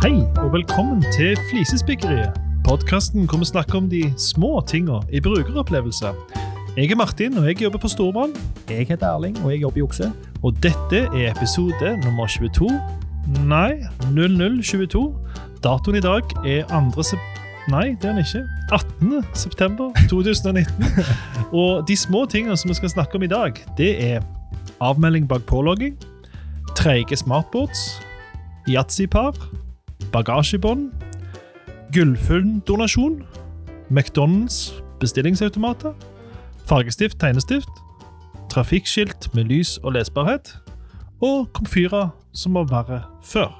Hei, og velkommen til Flisespikkeriet. Podkasten hvor vi snakker om de små tinga i brukeropplevelser. Jeg er Martin, og jeg jobber på Storbrann. Jeg heter Erling, og jeg jobber i Okse. Og dette er episode nummer 22 Nei, 0022. Datoen i dag er 2. sep... Nei, det er den ikke. 18. september 2019. Og de små tingene som vi skal snakke om i dag, det er avmelding bak pålogging, treige smartboards, yatzypar, bagasjebånd, gullfunndonasjon, McDonald's bestillingsautomater, fargestift, tegnestift, trafikkskilt med lys og lesbarhet, og komfyrer som var verre før.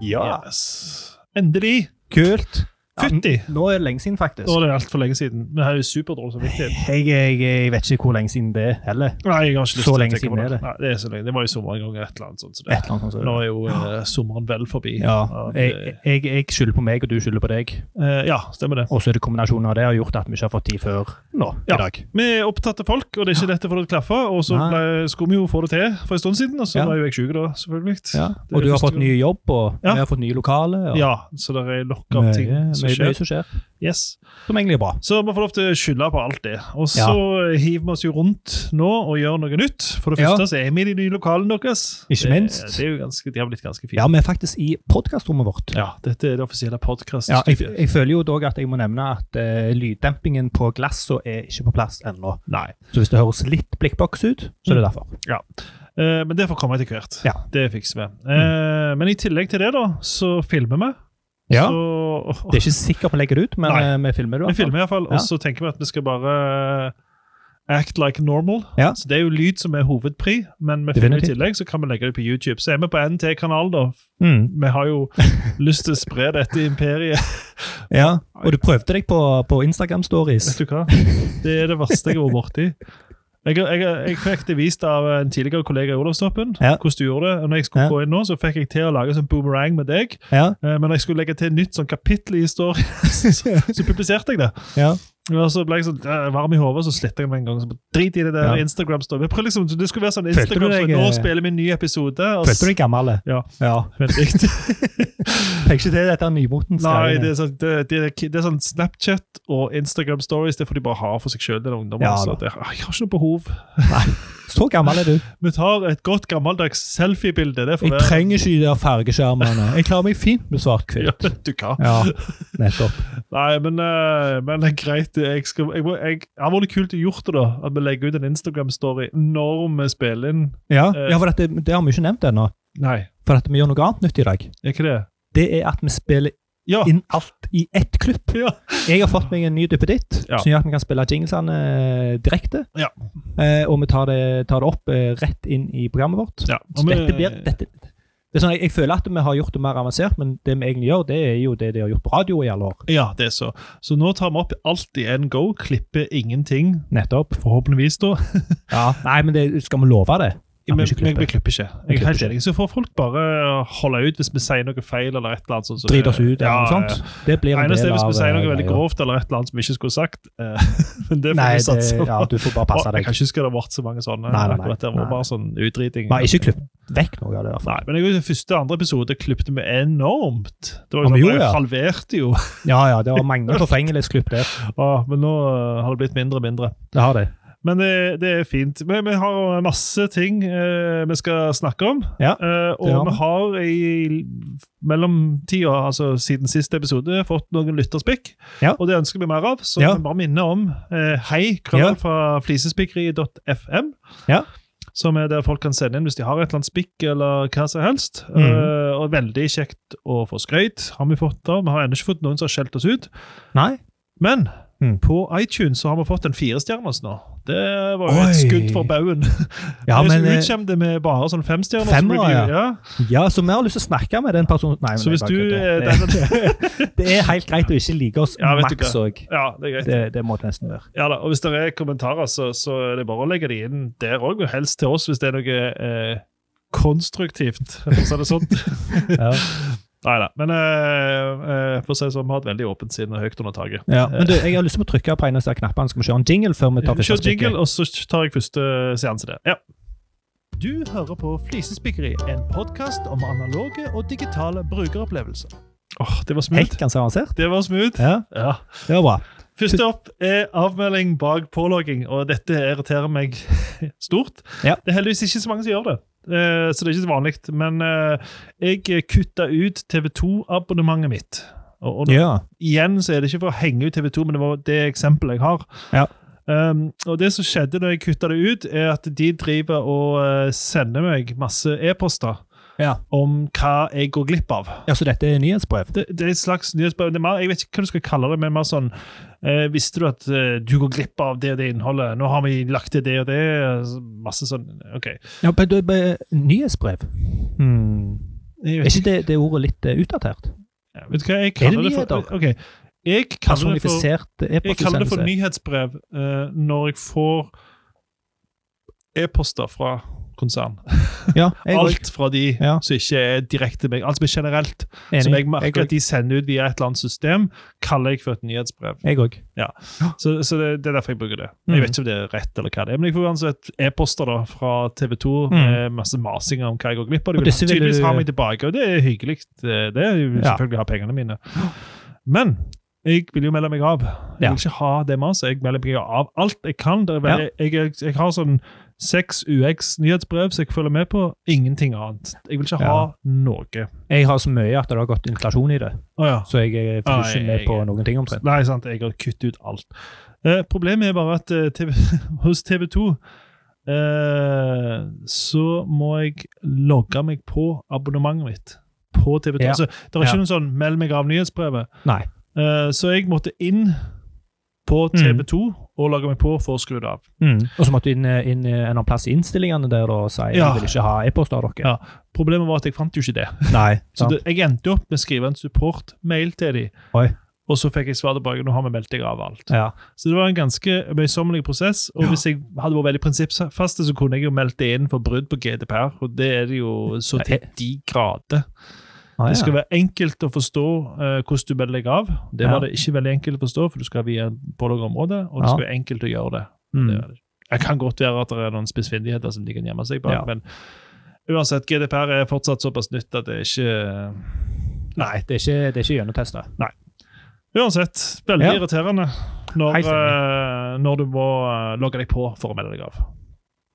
Yes. Endelig! Kult. Fytti! Nå er det lenge siden, faktisk. Nå er det altfor lenge siden. Vi har jo superdårlig samvittighet. Jeg, jeg, jeg vet ikke hvor lenge siden det er heller. Nei, jeg har ikke lyst Så til å lenge tenke på siden det. er det. Nei, det er så lenge. Det var jo sommeren en gang, et eller annet sånt. Så Et det. eller annet sånt. som Nå det. er jo eh, sommeren vel forbi. Ja, det, jeg, jeg, jeg skylder på meg, og du skylder på deg. eh, ja stemmer det. Og så er det kombinasjonen av det har gjort at vi ikke har fått tid før nå Ja. i dag. Vi er opptatte folk, og det er ikke lett å få det til å klaffe. Og så Nei. ble- skulle vi jo få det til for en stund siden, og så Ja. var jo jeg syk da, selvfølgelig. Det er Og du har første fått ny jobb, og Ja. vi har fått nye lokaler. Og Ja, så det er nok av mye, ting som mye, mye skjer. som skjer. Yes. Som egentlig er bra. Så vi får lov til å skylde på alt det. Og så hiver vi oss jo rundt nå og gjør noe nytt. For det Ja. første så er vi i de nye lokalene deres. Ikke Det- minst. Det, er jo ganske, de har blitt ganske fine. Ja, vi er faktisk i podkastrommet vårt. Ja, dette er det offisielle podkastet. Ja, jeg, jeg føler jo dog at jeg må nevne at eh, lyddempingen på glassene er ikke på plass ennå. Nei. Så hvis det høres litt blikkboks ut, så er det derfor. Eh, men det får komme etter hvert. Ja. Mm. Det fikser vi. Eh, men i tillegg til det, da, så filmer vi. Så, Det er ikke sikkert vi legger det ut, men Nei. eh, vi filmer vi det. i hvert fall. filmer iallfall, Ja. og så tenker vi at vi skal bare eh, act like normal. Ja. Så Det er jo lyd som er hovedpri, men vi filmer i Definitivt. tillegg, så kan vi legge det på YouTube. Så er vi på NT-kanal, da. Mm. Vi har jo lyst til å spre dette imperiet. Ja, og du prøvde deg på, på Instagram Stories. Vet du hva? Det er det verste jeg har vært borti. Jeg, jeg, jeg fikk det vist av en tidligere kollega i Olavstoppen. Ja. hvordan du gjorde det. Og når jeg skulle Ja. gå inn nå, så fikk jeg til å lage sånn boomerang med deg. Ja, Eh, Men når jeg skulle legge til nytt sånn kapittel i historien, så, så publiserte jeg det. ja. Og så ble jeg sånn eh, varm i hodet, så sletta jeg meg en gang. Så bare, Drit i det der Ja. Instagram-story. Jeg prøvde Liksom, det skulle være sånn Følte du Instagram deg, sånn, Nå eh, spiller vi en ny episode. og Følte du deg gammel? Ja. ja. Vent litt. Fikk ikke til dette nymotens Nei, det greiene. er, sånn, det, det, det er sånn Snapchat og Instagram stories. Det får de bare ha for seg sjøl. Ja, altså. da. Det- Jeg har ikke noe behov. Så gammel er du. Vi tar et godt gammeldags selfiebilde. Det får Jeg være trenger ikke de der fargeskjermene. Jeg klarer meg fint med ja, svart-hvitt. vet du hva. Ja, nettopp. Nei, men, eh, men det er greit. Jeg skal, jeg, må- jeg, det hadde vært kult å gjort det, da. At vi legger ut en Instagram-story når vi spiller inn. Ja, Eh. ja for dette, det har vi ikke nevnt ennå. Nei, For at vi gjør noe annet nytt i dag. er ikke det? Det er at vi spiller Ja! inn alt i ett klipp. ja. Jeg har fått meg en ny duppeditt Ja. som gjør at vi kan spille jinglesene eh, direkte. Ja. Eh, og vi tar det, tar det opp eh, rett inn i programmet vårt. ja. eh, Så dette blir, dette, det er sånn, jeg, jeg føler at vi har gjort det mer avansert, men det vi egentlig gjør, det er jo det de har gjort på radio i alle år. Ja, det er så. Så nå tar vi opp alt i en go. Klipper ingenting, Nettopp. forhåpentligvis, da. Ja. Nei, men det, skal vi love det? Ja, Men vi vi ikke klipper. vi klipper ikke. Vi Jeg er klipper helt ikke. enig. Så får folk bare holde ut hvis vi sier noe feil eller et eller annet. sånt. som Drit oss det- ut eller Ja, noe sånt? Det blir en Eneste del er hvis av vi sier noe eh, veldig greia. grovt eller et eller annet som vi ikke skulle sagt. eh, Men det får Nei, vi det, satse på. ja, du får bare Å, passe Jeg deg. kan ikke huske det har vært så mange sånne. Nei, nei, nei. akkurat der. Det var Nei. bare sånn utdriting. Vi har ikke klippet vekk noe av det. i hvert fall. Nei, men jeg, i første andre episode klippte vi enormt. Det var Ja, jo vi sånn, gjorde jeg det. halverte jo. Ja, ja, det var mange forfengelighetsklipp der. Ja, men nå eh, har det blitt mindre og mindre. Det har det. Men det, det er fint. Vi, vi har masse ting eh, vi skal snakke om. Ja, Eh, og det har vi har i mellomtida, altså siden siste episode, fått noen lytterspikk. Ja. Og det ønsker vi mer av, så Ja. vi bare minner om eh, hei, krøll fra flisespikkeri.fm. Ja. Som er der folk kan sende inn hvis de har et eller annet spikk eller hva som helst. Mhm. Eh, og veldig kjekt å få skryt, har vi fått da. Vi har ennå ikke fått noen som har skjelt oss ut. Nei? Men Mm. på iTunes så har vi fått en firestjerners nå. Det var jo et Oi. skudd for baugen. Ja, det men er eh, så utkjem det med bare sånn femstjerners Femmer, review. ja. Ja. Ja, så vi har lyst til å snakke med den personen Nei, men Så jeg hvis bare du kødder. eh, det, den- det er helt greit å ikke like oss Ja, vet du maks òg. Ja, det er greit. Det, det må det nesten være. Ja da, og Hvis det er kommentarer, så, så er det bare å legge de inn der òg. Og helst til oss hvis det er noe eh, konstruktivt. For å si det sånn. Ja. Nei da. Men eh, eh, for å si det sånn, vi har et veldig åpent sinn og høyt under taket. Men du, jeg har lyst til å trykke på en av disse knappene. Skal vi kjøre en jingle før vi tar Kjør første jingle, spikket? og så tar jeg første seanse der. Ja. Du hører på Flisespikkeri, en podkast om analoge og digitale brukeropplevelser. Åh, Det var smooth. Hekkende avansert. Det var smooth. Ja, Ja. det var bra. Først opp er avmelding bak pålogging, og dette irriterer meg stort. Ja. Det er heldigvis ikke så mange som gjør det, eh, så det er ikke så vanlig. Men eh, jeg kutta ut TV2-abonnementet mitt. Og, og nå, Ja. igjen så er det ikke for å henge ut TV2, men det var det eksempelet jeg har. Ja. Um, og det som skjedde når jeg kutta det ut, er at de driver og eh, sender meg masse e-poster Ja. om hva jeg går glipp av. ja, så dette er nyhetsbrev? Det, det er et slags nyhetsbrev. Det er mer, jeg vet ikke hva du skal kalle det, men mer sånn eh, Visste du at eh, du går glipp av det og det innholdet? Nå har vi lagt til det og det. Masse sånn OK. Ja, men du- men- nyhetsbrev? Hmm. Jeg Er vet, ikke det, det ordet litt eh, utdatert? ikke- vet du hva jeg kaller Er det det, for? Ok. Jeg kaller det for, Personifisert jeg kaller det for e-postsendelse? nyhetsbrev eh, når jeg får e-poster fra konsern. Ja, jeg er Alt fra de Ja. som ikke er direkte meg. Alt som er generelt. enig. Som jeg merker Jeg at de sender ut via et eller annet system, kaller jeg for et nyhetsbrev. òg. Jeg òg. Så, så det, det er derfor jeg bruker det. Mhm. Jeg vet ikke om det er rett, eller hva det er, men jeg får uansett e-poster da fra TV 2 Mhm. med masse masing om hva jeg går glipp av. Og De vil disse vil tydeligvis du- ha meg tilbake, og det er hyggelig. Det, det er jo Ja. selvfølgelig å ha pengene mine. Men jeg vil jo melde meg av. Jeg Ja. vil ikke ha det maset. Jeg melder meg av alt jeg kan. Det er veldig, jeg, jeg, jeg har sånn seks UX-nyhetsbrev som jeg følger med på. Ingenting annet. Jeg vil ikke ha Ja. noe. Jeg har så mye at det har gått inflasjon i det, Å ja. så jeg er Ah, faktisk ikke jeg- med på noen ting omtrent. Nei, sant, jeg har kuttet ut alt. Eh, problemet er bare at eh, TV, hos TV 2 eh, så må jeg logge meg på abonnementet mitt på TV 2. Ja. Altså, det er ikke Ja. noen sånn 'meld meg av nyhetsbrevet'. Nei. Eh, så jeg måtte inn på Mm. TV 2 og logge meg på for å skru det av. Mm. Og så måtte du inn, eh, inn eh, en annen plass i innstillingene der da, og si at Ja. jeg vil ikke ha e-post av dere. Ja. Problemet var at jeg fant jo ikke det. Nei. Så Sant? det, jeg endte jo opp med å skrive en support-mail til dem. Oi. Og så fikk jeg svar tilbake. Nå har vi meldt deg av alt. ja. Så det var en ganske møysommelig prosess. Og Ja. hvis jeg hadde vært veldig prinsippfast, så kunne jeg jo meldt det inn for brudd på GDPR, og det er det jo så til de grader. Ah, Det skal ja. være enkelt å forstå eh, hvordan du melder deg av. Det Ja. var det ikke veldig enkelt å forstå, for du skal via pålagt område, og det Ja. skal være enkelt å gjøre det. Det Mm. er det. Det kan godt være at det er noen spissfindigheter som de kan gjemme seg bak, Ja. men uansett, GDPR er fortsatt såpass nytt at det er ikke eh, Nei, det er ikke, det er ikke gjennomtesta. Uansett, veldig Ja. irriterende når, Hei, eh, når du må eh, logge deg på for å melde deg av.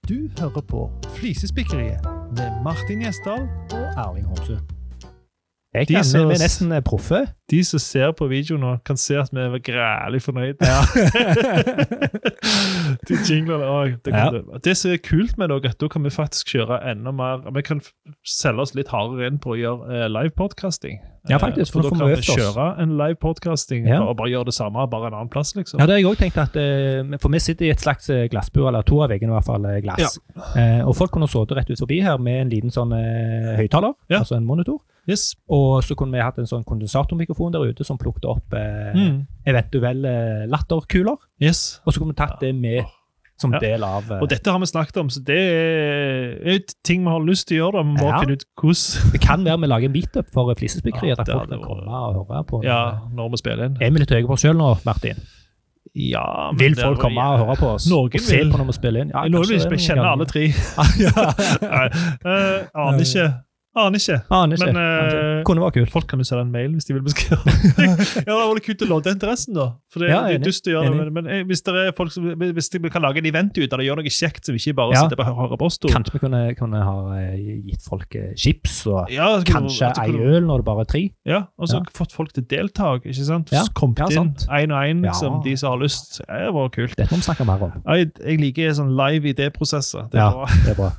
Du hører på Flisespikkeriet med Martin Gjesdal. Erling Homsø. Jeg De kan, som- vi er nesten eh, proffe. De som ser på video nå, kan se at vi er grælig fornøyd. De jinglene også, det, kan du- det som er kult med det, er at da kan vi faktisk kjøre enda mer Vi kan f- selge oss litt hardere inn på å gjøre eh, live podcasting. Ja, faktisk, Eh, For for nå da får kan vi vi øvd oss. kjøre en live podcasting Ja. og bare gjøre det samme, bare en annen plass, liksom. Ja, det har jeg òg tenkt at eh, For vi sitter i et slags eh, glassbur, eller to av veggene i hvert fall, eh, glass. Eh, og folk kunne sittet rett ut forbi her med en liten sånn eh, høyttaler, Ja. altså en monitor. Yes. Og så kunne vi hatt en sånn kondensatormikrofon der ute som plukket opp eh, Mm. eventuelle latterkuler. yes. Og så kunne vi tatt det med som Ja. del av eh, Og dette har vi snakket om, så det er jo ting vi har lyst til å gjøre. da. Vi må Ja. finne ut hvordan Det kan være vi lager en meetup for flisespikkeriet. Ja, at det folk hadde kan vært- komme og høre på. ja, når vi spiller inn. Er vi litt høye på oss sjøl nå, Martin? Ja, men Eh, Vil det- folk komme og høre på oss? Noen og se vil. på når vi spiller inn? Ja, Noen kanskje vil det er ikke noen kjenne alle ganger. tre. Nei, eh, aner ikke. Aner ikke. Aner ikke. Men, eh, Aner ikke. Kunne vært kult. Folk kan jo sende en mail hvis de vil beskrive. ja, Det hadde vært kult å lodde interessen, da. For det, Ja, det er enig. dust å gjøre det, Enig. men, men eh, hvis det er folk som, hvis de kan lage en event ut av det, gjør noe kjekt som ikke bare Ja. sitter og hører på oss to Kanskje vi kunne, kunne ha eh, gitt folk eh, chips og Ja, så kunne- kanskje at det ei kunne- øl når det bare er tre? Ja, og så Ja. fått folk til deltak, ikke sant? Ja, Kommet ja, inn, sant. en og en, Ja. som de som har lyst. Ja, Det var kult. Dette må vi snakke mer om. Jeg, jeg liker sånn live idéprosesser. Det er Ja. bra. Det er bra.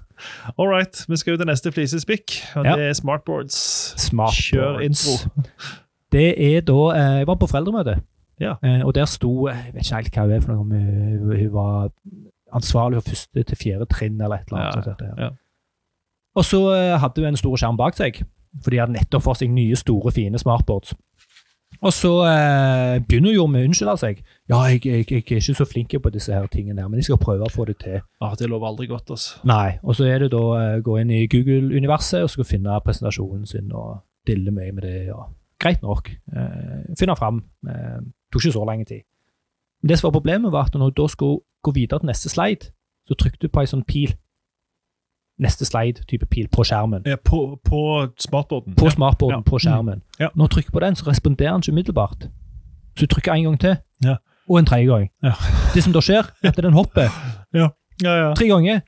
All right, vi skal jo til neste flisespikk, og Ja. det er smartboards. Smartboards. Kjør intro. Det er da eh, Jeg var på foreldremøte, Ja. eh, og der sto Jeg vet ikke helt hva hun er for noe, om hun, hun var ansvarlig for første til fjerde trinn eller et eller Ja, annet. sånt der. ja. Og så eh, hadde hun en stor skjerm bak seg, for de hadde nettopp for seg nye, store, fine smartboards. Og så eh, begynner hun jo med å unnskylde seg. 'Ja, jeg, jeg, jeg er ikke så flink på disse her tingene, her, men jeg skal prøve å få det til.' Ah, det lover aldri godt, altså. Nei. Og så er det da eh, gå inn i Google-universet og skal finne presentasjonen sin og dille mye med det. og Greit nok. Eh, finne fram. Eh, tok ikke så lang tid. Men det som var problemet, var at når du da skulle gå videre til neste slide, så trykte du på ei sånn pil. neste slide-type pil på skjermen. Ja, Eh, på, på smartboarden. På ja. smartboarden, Ja. Mm. på skjermen. Ja. Når du trykker på den, så responderer den ikke umiddelbart. Så du trykker en gang til, Ja. og en tredje gang. Ja. Det som da skjer, er at den hopper Ja, ja. tre ganger,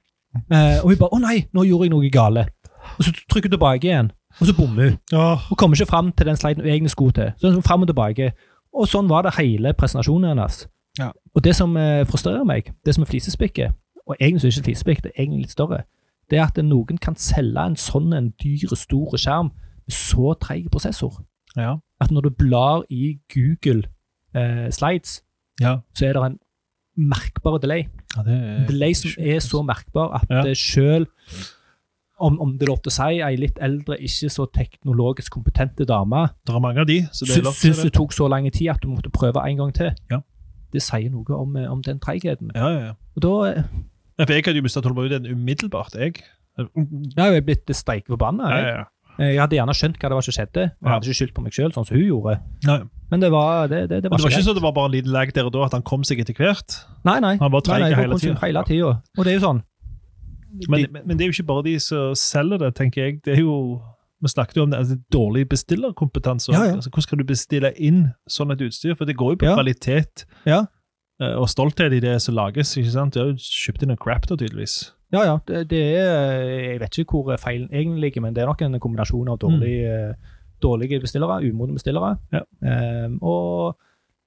eh, og hun bare 'Å nei, nå gjorde jeg noe gale'. Og så trykker hun tilbake igjen, og så bommer hun. Åh, Hun kommer ikke fram til den sliden hun egentlig skulle til. Så hun frem og tilbake. Og sånn var det hele presentasjonen hennes. Ja. Og det som eh, frustrerer meg, det som er flisespikke, og egentlig så er det ikke flisespikk, det er egentlig litt større, det er at noen kan selge en sånn en dyr, stor skjerm med så treig prosessor ja. at når du blar i Google eh, slides, Ja. så er det en merkbar delay. ja, det En er delay som er så merkbar at Eh, Ja. det selv om, om det er lov til å si, ei litt eldre, ikke så teknologisk kompetente dame Det er mange av de, så det er Sy- lov til Syns det det. tok så lang tid at du måtte prøve en gang til? Ja. Det sier noe om, eh, om den treigheten. Ja, ja, ja. Og da eh, Ja, for Jeg hadde jo mista tålmodigheten umiddelbart, jeg. Ja, da har jeg blitt steike forbanna. ja, Jeg. ja. Eh, jeg hadde gjerne skjønt hva det var som skjedde, og Ja. hadde ikke skyldt på meg sjøl, sånn som hun gjorde. Nei. Men det var, det, det, Men det var det var ikke greit. sånn at det var bare en liten lag der og da, at han kom seg etter hvert. Nei, nei. Han var nei, treig nei, hele konsum- tiden. hele tida. Og det er jo sånn. Men, De- men, men det er jo ikke bare de som selger det, tenker jeg. Det er jo vi snakket jo om det, altså dårlig bestillerkompetanse. Ja, ja. Altså, hvordan skal du bestille inn sånn et utstyr? For det går jo på Ja. kvalitet Ja. eh, og stolthet i det som lages. ikke sant? Du har jo kjøpt inn en crap da, tydeligvis. Ja, ja. Det, det er eh, Jeg vet ikke hvor feilen egentlig ligger, men det er nok en kombinasjon av dårlig, eh, dårlige bestillere, umodne bestillere, Ja. eh, og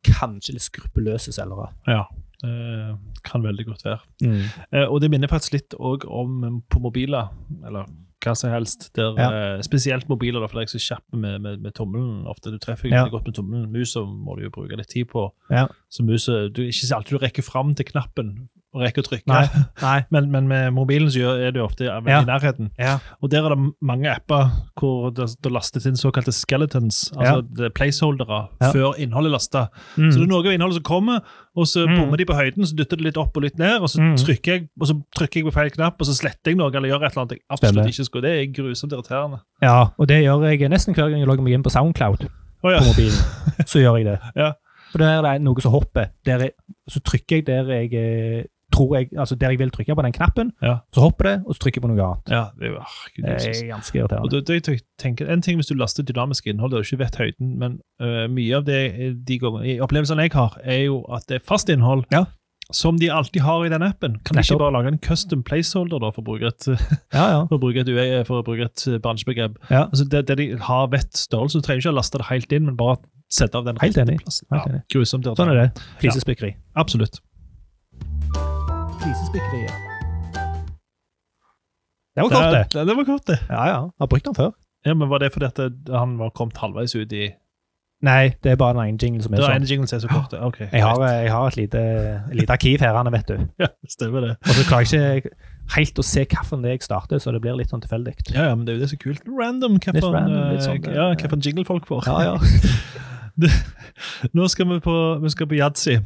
kanskje litt skruppeløse selgere. Ja, det kan veldig godt være. Mm. Eh, Og det minner faktisk litt også om eh, på mobiler, eller hva som helst. Der, eh, spesielt mobiler, da, for jeg er ikke så kjapp med, med, med tommelen. ofte. Du treffer jo Ja. ikke godt med tommelen. Musa må du jo bruke litt tid på. Ja. Så musa, du, Ikke alltid du rekker fram til knappen og rekker å trykke. Nei. Nei. Men, men med mobilen så gjør- er du ofte veldig Ja. i nærheten. Ja. Og der er det mange apper hvor det, det lastes inn såkalte skeletons, altså det er placeholdere, Ja. før innholdet laster. Så det er noe av innholdet som kommer, og så Mm. bommer de på høyden, så dytter det litt opp og litt ned, og så, Mm. trykker, jeg, og så trykker jeg på feil knapp, og så sletter jeg noe eller gjør et eller annet jeg absolutt Stemmer. ikke skulle. Det er grusomt irriterende. Ja, og det gjør jeg nesten hver gang jeg logger meg inn på Soundcloud Å ja. på mobilen. Så gjør jeg det. Ja. For der er det noe som hopper. Der jeg, så trykker jeg der jeg eh, tror jeg, altså der jeg vil trykke på den knappen, Ja. så hopper det, og så trykker jeg på noe annet. ja, det er jo ah, Gud, Det Jesus. er ganske Og irriterende. det, det, jeg tenker, en ting hvis du laster dynamisk innhold, og du ikke vet høyden, men øh, mye av det de gangene- i opplevelsene jeg har, er jo at det er fast innhold. Ja. Som de alltid har i den appen. Kan de ikke Nettopp. bare lage en custom placeholder da, for å bruke et, eh, Ja, ja. for å bruke et, UE for å bruke et øh, bransjebegrep? Ja. Altså, det, det de har vet størrelse, du trenger ikke å laste det helt inn, men bare sette av den Helt rette enig. plassen. Helt Ja, enig. grusomt. Sånn er det. Flisespikkeri. Absolutt. Flisespikkeriet. Det var kort, Det, det. det, det var kort, det. Ja, ja. Har brukt den før. Ja, men Var det fordi at det- han var kommet halvveis ut i Nei, det er bare den ene jinglen som Det er er en sånn. jingle som er så kort. ja, Ok, Jeg har, jeg har et lite, et lite arkiv her, Anne, vet du. Ja, stemmer det. Og så klarer jeg ikke helt å se hvilken jeg starter, så det blir litt sånn tilfeldig. Ja, ja, men det er jo det som er kult. Random, hva Litt for en, random, litt eh, sånn, ja, ja. hva for en jingle folk får. Ja, ja. Nå skal vi på, vi skal på Yadzy.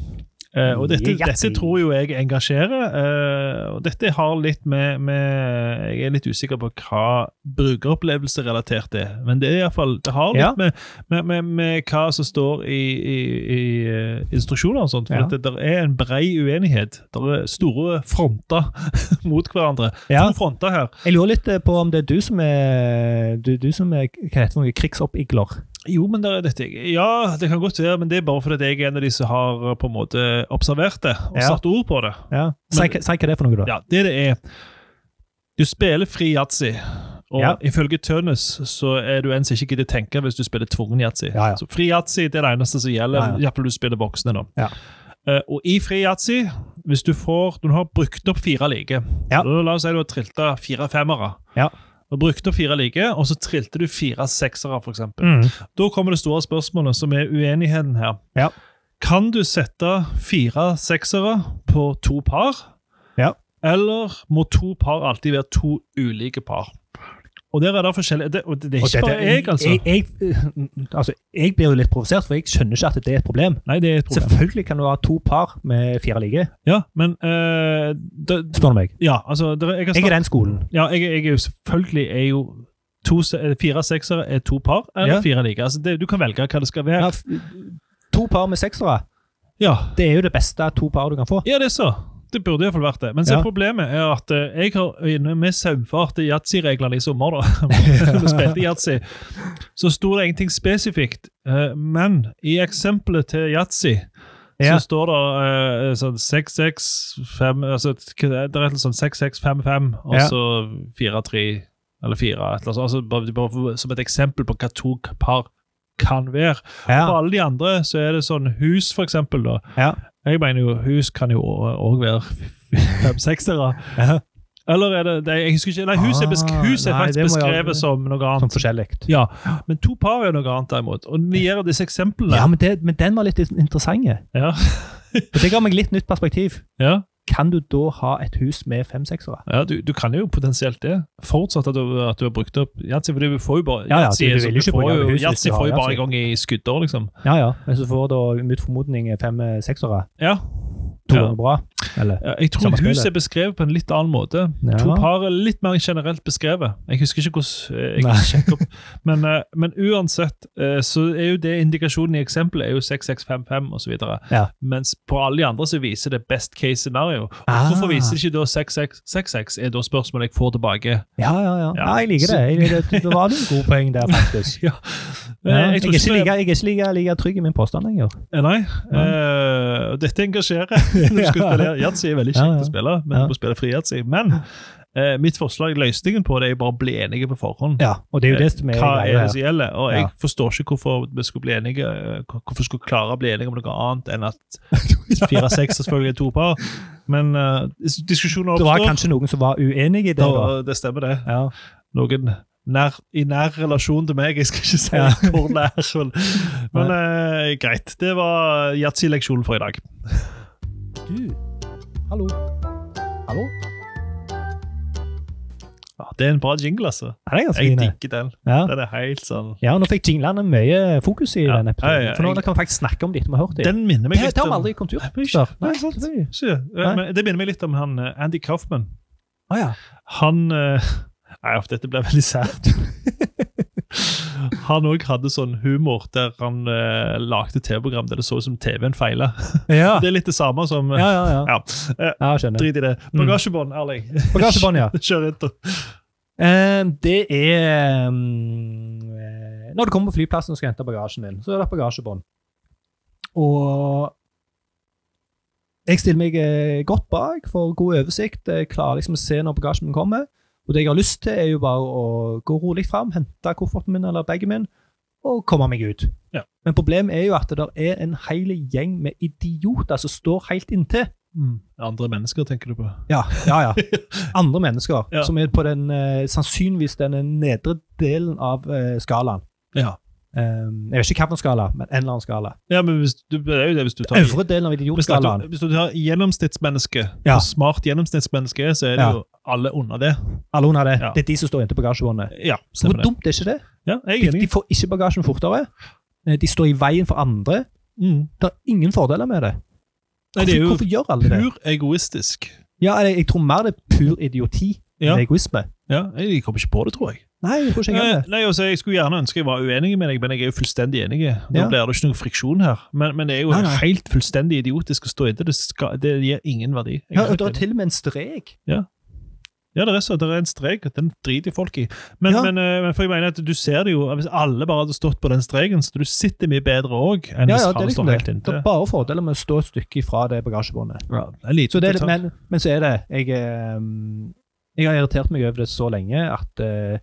Eh, og dette, Yahtzee. dette tror jo jeg engasjerer. eh, og dette har litt med, med Jeg er litt usikker på hva brukeropplevelse relatert er. Men det er i hvert fall, det har litt Ja. med, med, med, med hva som står i, i, i eh, instruksjoner og sånt. For Ja. at det, der er en brei uenighet. Det er store fronter mot hverandre. ja. To fronter her. Jeg lurer litt eh, på om det er du som er Du, du som er hva heter det, noe krigsoppigler. Jo, men der er dette Ja, det kan godt være, men det er bare fordi jeg er en av de som har eh, på en måte observert det og Ja. satt ord på det. Ja. Si, Men- hva- si hva det er for noe, da. Ja, det det er Du spiller fri yatzy, og Ja. ifølge Tønnes så er du en som ikke gidder tenke hvis du spiller tvungen yatzy. Ja, ja. Så fri yatzy det er det eneste som gjelder, Ja, ja. iallfall du spiller voksne, da. Ja. Eh, og i fri yatzy, hvis du får Når du har brukt opp fire like Ja. da, La oss si du har trilta fire femmere. Ja. Du har brukt opp fire like, og så trilte du fire seksere, for eksempel. Mm. Da kommer det store spørsmålet, som er uenigheten her. Ja. Kan du sette fire seksere på to par? Ja. Eller må to par alltid være to ulike par? Og der er det forskjellige det, og det, det er Og ikke dette- bare jeg, altså. Jeg, jeg, eh, altså. jeg blir jo litt provosert, for jeg skjønner ikke at det er et problem. Nei, det er et problem. Selvfølgelig kan du ha to par med fire like, Ja, men eh, det, spør du meg. Ja, altså der, jeg, har Jeg snakket- er den skolen. ja, jeg, jeg er jo selvfølgelig er jo to, se- eh, Fire seksere er to par, eller Ja. fire like. Altså, det, du kan velge hva det skal Ja, være. f- to par med seksere, Ja, det er jo det beste to par du kan få. ja det er så. Det burde iallfall vært det. Men se, Ja. problemet er at eh, jeg har øyne med saumfarte yatzy-reglene i sommer. da. Vi spilte yatzy. Så sto det ingenting spesifikt. eh, Men i eksempelet til yatzy Ja. så står det eh, sånn 665 altså, hva er det? det er et eller annet sånn 6655, og Ja. så 43 eller 4. Et eller annet, sånt. altså, bare, bare for- som et eksempel på hva to par kan være. For Ja. alle de andre så er det sånn hus, for eksempel. da. Ja. Jeg mener jo hus kan jo òg være fem-seksere. Ja. Eller er det, det Jeg husker ikke. Nei, hus er, besk Ah, hus er nei, faktisk det må jeg- beskrevet som noe Sånn annet. forskjellig. Ja, Men to par er jo noe annet, derimot. Og nier av disse eksemplene Ja, men, det, men den var litt interessant. Ja. For det ga meg litt nytt perspektiv. ja, Kan du da ha et hus med fem-seksere? ja du, du kan jo potensielt det. Forutsatt at du, at du har brukt opp Yatzy. For du får jo bare Ja, ja, Yatzy du- du er så- vil jo ikke får bruke jo- opp hus hvis Yatzy du har får jo bare Yatzy. en gang i skuddår, liksom. Ja, ja. Men så får da mot formodning fem-seksere. Ja. To Ja. ganger bra. Eller? Ja, Jeg tror Samme hus spillet. er beskrevet på en litt annen måte. Ja. To par er litt mer generelt beskrevet. Jeg husker ikke hvordan eh, Nei. jeg sjekket opp. Men, eh, men uansett, eh, så er jo det indikasjonen i eksempelet er jo 6655 osv. Ja. Mens på alle de andre så viser det best case scenario. Ah. Hvorfor viser det ikke da 6666, er da spørsmålet jeg får tilbake. Eh, Ja, ja, Ja. ja. ja jeg liker det. Jeg, det, det var noen gode poeng der, faktisk. Ja. Ja, Eh, jeg, tror er ikke vi- like, jeg er ikke like, like trygg i min påstand lenger. Eh, Nei. Eh, og dette engasjerer. Når du skal Ja. spille Yatzy er veldig kjekt Ja, ja. å spille, men Ja. du må spille fri Yatzy. Men eh, mitt forslag, løsningen på det, er jo bare å bli enige på forhånd. Ja, og det er jo det som er Eh, Hva er greia det her. som gjelder? Og jeg Ja. forstår ikke hvorfor vi skulle bli enige eh, hvor- Hvorfor skulle klare å bli enige om noe annet enn at fire-seks selvfølgelig er to par. Men eh, dis- diskusjoner Det var oppstår. kanskje noen som var uenig i det, da. og det stemmer, det. Ja. Noen nær, i nær relasjon til meg. Jeg skal ikke si Ja. hvor nær. Men, men eh, greit. Det var yatzy-leksjonen for i dag. Du, hallo. Hallo? Ja, det er en bra jingle, altså. Er det ganske Jeg fine? digger den. Ja. Den er helt sånn ja, nå fikk jinglene mye fokus i Ja. denne episoden. Ja, ja, ja. For nå kan vi faktisk snakke om de etter vi har hørt dem. Den minner meg Det litt sånn- det har vi om aldri i kontur. Nei, men ikke- Nei, Nei, sant. selvfølgelig. Ikke, eh, Nei. men Det minner meg litt om han eh, Andy Kaufman. Å ja. Han eh, Nei, uff, dette ble veldig sært. han òg hadde sånn humor der han eh, lagde TV-program der det så ut som TV-en feila. Ja, Det er litt det samme som ja, ja. ja. Ja, eh, ja skjønner. Drit i det. Mm. Bagasjebånd, Erling. Bagasjebånd, ja. Kjør intro. Eh, det er mm, eh, Når du kommer på flyplassen og skal hente bagasjen din, så er det et bagasjebånd. Og jeg stiller meg eh, godt bak, får god oversikt, jeg klarer liksom å se når bagasjen min kommer. Og det jeg har lyst til, er jo bare å gå rolig fram, hente kofferten min eller bagen min, og komme meg ut. Ja. Men problemet er jo at det der er en hel gjeng med idioter som står helt inntil. Mm. Andre mennesker tenker du på? Ja, ja, ja. Andre mennesker Ja. som er på den eh, sannsynligvis den nedre delen av eh, skalaen. Ja. Ehm, jeg vet ikke hvilken skala, men en eller annen skala. ja men hvis du, det er jo det hvis du tar Øvre delen av hvis du, idiotskalaen. hvis du tar gjennomsnittsmenneske, Ja. hvor smart gjennomsnittsmenneske er, så er det Ja. jo alle under det. Alle under det. Ja. Det er de som står inntil bagasjebåndet. Ja, Hvor stemmer det. dumt er ikke det? Ja, jeg De, er enig. de får ikke bagasjen fortere. Eh, De står i veien for andre. Mm. Det er ingen fordeler med det. Nei, Hvorfor, det er jo hvorfor gjør alle det? pur egoistisk. Ja, eller jeg tror mer det er pur idioti Ja. enn egoisme. Ja, jeg kommer ikke på det, tror jeg. Nei, jeg tror ikke jeg Nei, gjør det. nei, altså, Jeg skulle gjerne ønske jeg var uenig med deg, men jeg er jo fullstendig enig. Da Ja. blir det ikke noe friksjon her. Men, men det er jo Nei, nei. helt fullstendig idiotisk å stå inntil. Det, skal, det gir ingen verdi. Jeg er Ja, og helt det er enig. til og med en strek. ja, det er så, det er en strek, og den driter folk i. Men, Ja. men, eh, men for jeg mener at du ser det jo, hvis alle bare hadde stått på den streken, så du sitter mye bedre òg enn Ja, hvis ja, det alle er liksom står det. helt Det inntil. er bare fordeler med å stå et stykke ifra det bagasjebåndet. Ja, en liten Så det er, litt- detalj. men, men så er det jeg, ehm, jeg har irritert meg over det så lenge at, eh,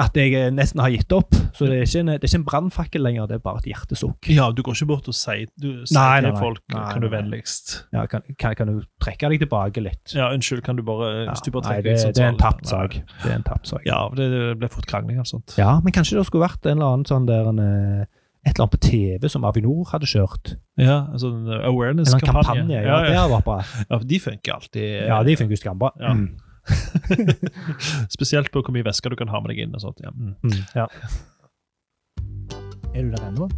at jeg eh, nesten har gitt opp. Så det er ikke en, det er ikke en brannfakkel lenger, det er bare et hjertesukk. ja, du går ikke bort og sier, du, sier Nei, til nei, nei. folk Nei, Kan du nei, nei. vennligst Ja, kan, kan, kan du trekke deg tilbake litt? Ja, unnskyld, kan du bare Ja, hvis du bare nei, trekker det, litt sånn det er en tale- tapt sak. Det er en tapt sak. Ja, det, det blir fort krangling av sånt. Ja, men kanskje det skulle vært en eller annen sånn der en, eh, et eller annet på TV som Avinor hadde kjørt. Ja, en sånn En eller annen awareness-kampanje. kampanje. ja, Ja, ja. det hadde vært bra. Ja, for de funker alltid. eh, Ja, de funker jo skambra. Ja. Mm. Spesielt på hvor mye væske du kan ha med deg inn. og sånt. Ja. Mm. Mm, ja. Er du der ennå?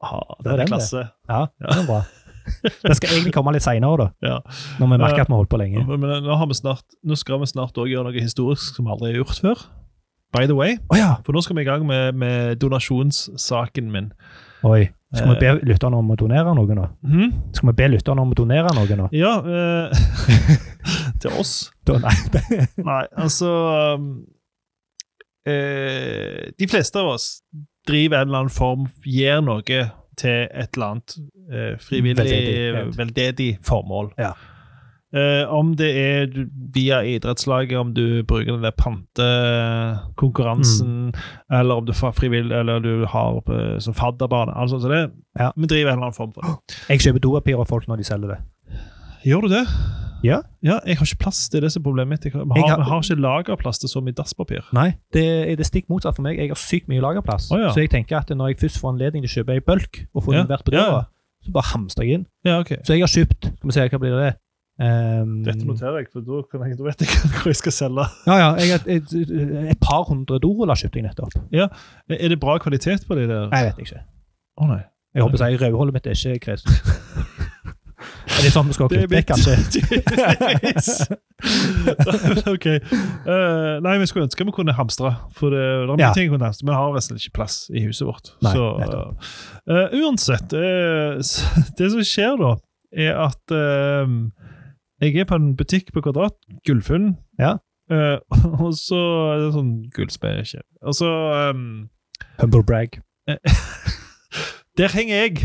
Ah, var den den, er det. klasse. Ja, det er bra. Det skal egentlig komme litt seinere, da. Ja. Når vi merker at vi har holdt på lenge. Men nå, har vi snart, nå skal vi snart også gjøre noe historisk som vi aldri har gjort før. By the way, Å ja! for nå skal vi i gang med, med donasjonssaken min. Oi. Skal vi be Eh. lytterne om å donere noe nå? Mhm. Skal vi be lytterne om å donere noe nå? Ja eh, Til oss? Da, nei, det, Nei, altså um, eh, De fleste av oss driver en eller annen form, gir noe til et eller annet eh, frivillig, eh, Veldedighet. veldedig, formål. Ja. Eh, om det er du- via idrettslaget, om du bruker den der Mm. pantekonkurransen, eller om du får frivillig, eller du har eh, som fadderbane, alt sånt som det. Ja. Vi driver en eller annen form for det. jeg kjøper dopapir av folk når de selger det. Gjør du det? Ja. ja. Jeg har ikke plass til det som er problemet mitt. Jeg har, Jeg vi har- har, ikke lagerplass til så mye dasspapir. Nei, det er det stikk motsatt for meg. Jeg har sykt mye lagerplass. Å, ja. Så jeg tenker at når jeg først får anledning til å kjøpe i bulk, og få Ja, den levert på ja. døra, så bare hamstrer jeg inn. Ja, ok. Så jeg har kjøpt Skal vi se, hva blir det? Ehm, Dette noterer jeg, for da, kan jeg, da vet jeg hvor jeg skal selge. ja, ja, jeg har et, et, et par hundre doruller kjøpte jeg nettopp. Er det bra kvalitet på de der? Jeg vet ikke. Å nei. Jeg håper å si rødhålet mitt er ikke kresen. er det sånn vi skal ha klippet vekk, kanskje? ok. Eh, nei, vi skulle ønske vi kunne hamstre. For det, det er mye Ja. ting vi kunne hamstre. Vi har rett og slett ikke plass i huset vårt. Nei, så, eh, uansett, eh, s- det som skjer da, er at eh, jeg er på en butikk på Kvadrat, Gullfunn, Ja. Eh, og så er det sånn gullspeiderkjede. Og så eh, Humble brag. Der henger jeg!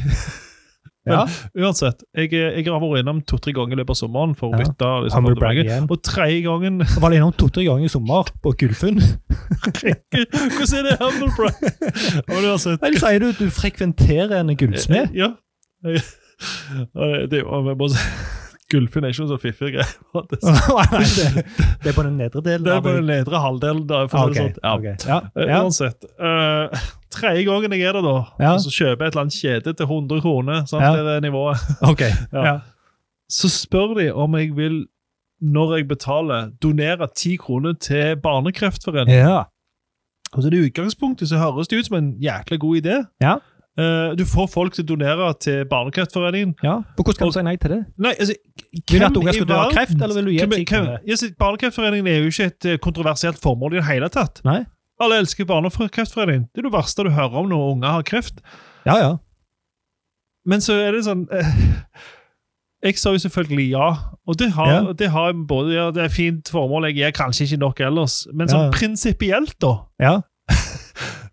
Ja, Uansett, jeg, eh, jeg har vært innom to-tre ganger i løpet av sommeren for å Ja. bytte. Liksom, sånn humble brag igjen. og tredje gangen Jeg var innom to-tre ganger i sommer på Gullfunn. Hvordan er det humble brag? Men uansett Eller sier du at du frekventerer en gullsmed? altså- Ja. Og det- det- og jeg må si- Gullfinn er ikke noe så fiffig greie. Det sånn- Nei, det, det er på den nedre delen. er av på den nedre halvdelen. Da, for å Ah, si det ok, sånn. ja. ok. Ja, Eh, ja. Uansett. eh, tredje gangen jeg er der, da, Ja. og så kjøper jeg et eller annet kjede til 100 kroner. Sant, Ja. det er det nivået. Ok. Ja. Ja. Så spør de om jeg vil, når jeg betaler, donere 10 kroner til Barnekreftforeningen. ja. Og så er Altså, det i utgangspunktet så høres det ut som en jækla god idé. Ja. Eh, du får folk til å donere til Barnekreftforeningen. ja. Og hvordan kan du si nei til det? Nei, altså, Vil du at unger skal dø av kreft, eller vil du gi hvem, ti hvem, kroner? Ja, så Barnekreftforeningen er jo ikke et eh, kontroversielt formål i det hele tatt. Nei. Alle elsker Barnekreftforeningen. Det er det verste du hører om når unger har kreft. Ja, ja. Men så er det sånn eh, Jeg sa jo selvfølgelig ja, og det har, Ja. det har jeg både ja, Det er et fint formål, jeg gjør kanskje ikke nok ellers. Men Ja, sånn ja. prinsipielt, da. ja.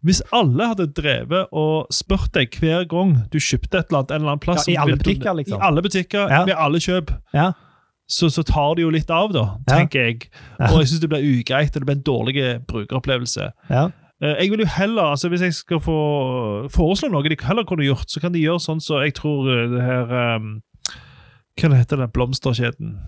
Hvis alle hadde drevet og spurt deg hver gang du kjøpte et eller annet, en eller annen plass Ja, i som alle vil du- butikker, liksom. I alle butikker, Ja. ved alle kjøp. Ja. Så, så tar det jo litt av, da, Ja. tenker jeg. Ja. Og jeg syns det blir ugreit, og det blir en dårlig brukeropplevelse. ja. Eh, Jeg vil jo heller, altså Hvis jeg skal få foreslå noe de heller kunne gjort, så kan de gjøre sånn som jeg tror eh, det her um, Hva heter den blomsterkjeden?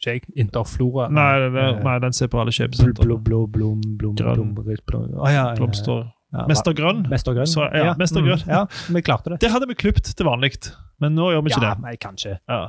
Ikke jeg. Interflora. Nei, den, der, Eh, nei, den ser på alle Blom, kjøpesentre. blom, blom, blom, blom, Grønn. blom, blom, blom. Å, ja, ja, ja. Blomster. Ja, Mester Grønn. Mester Grønn. Så, ja, Mester mm, Grønn. Ja, vi klarte det. Det hadde vi klippet til vanlig, men nå gjør vi ikke Ja, det. nei, kanskje. Ja.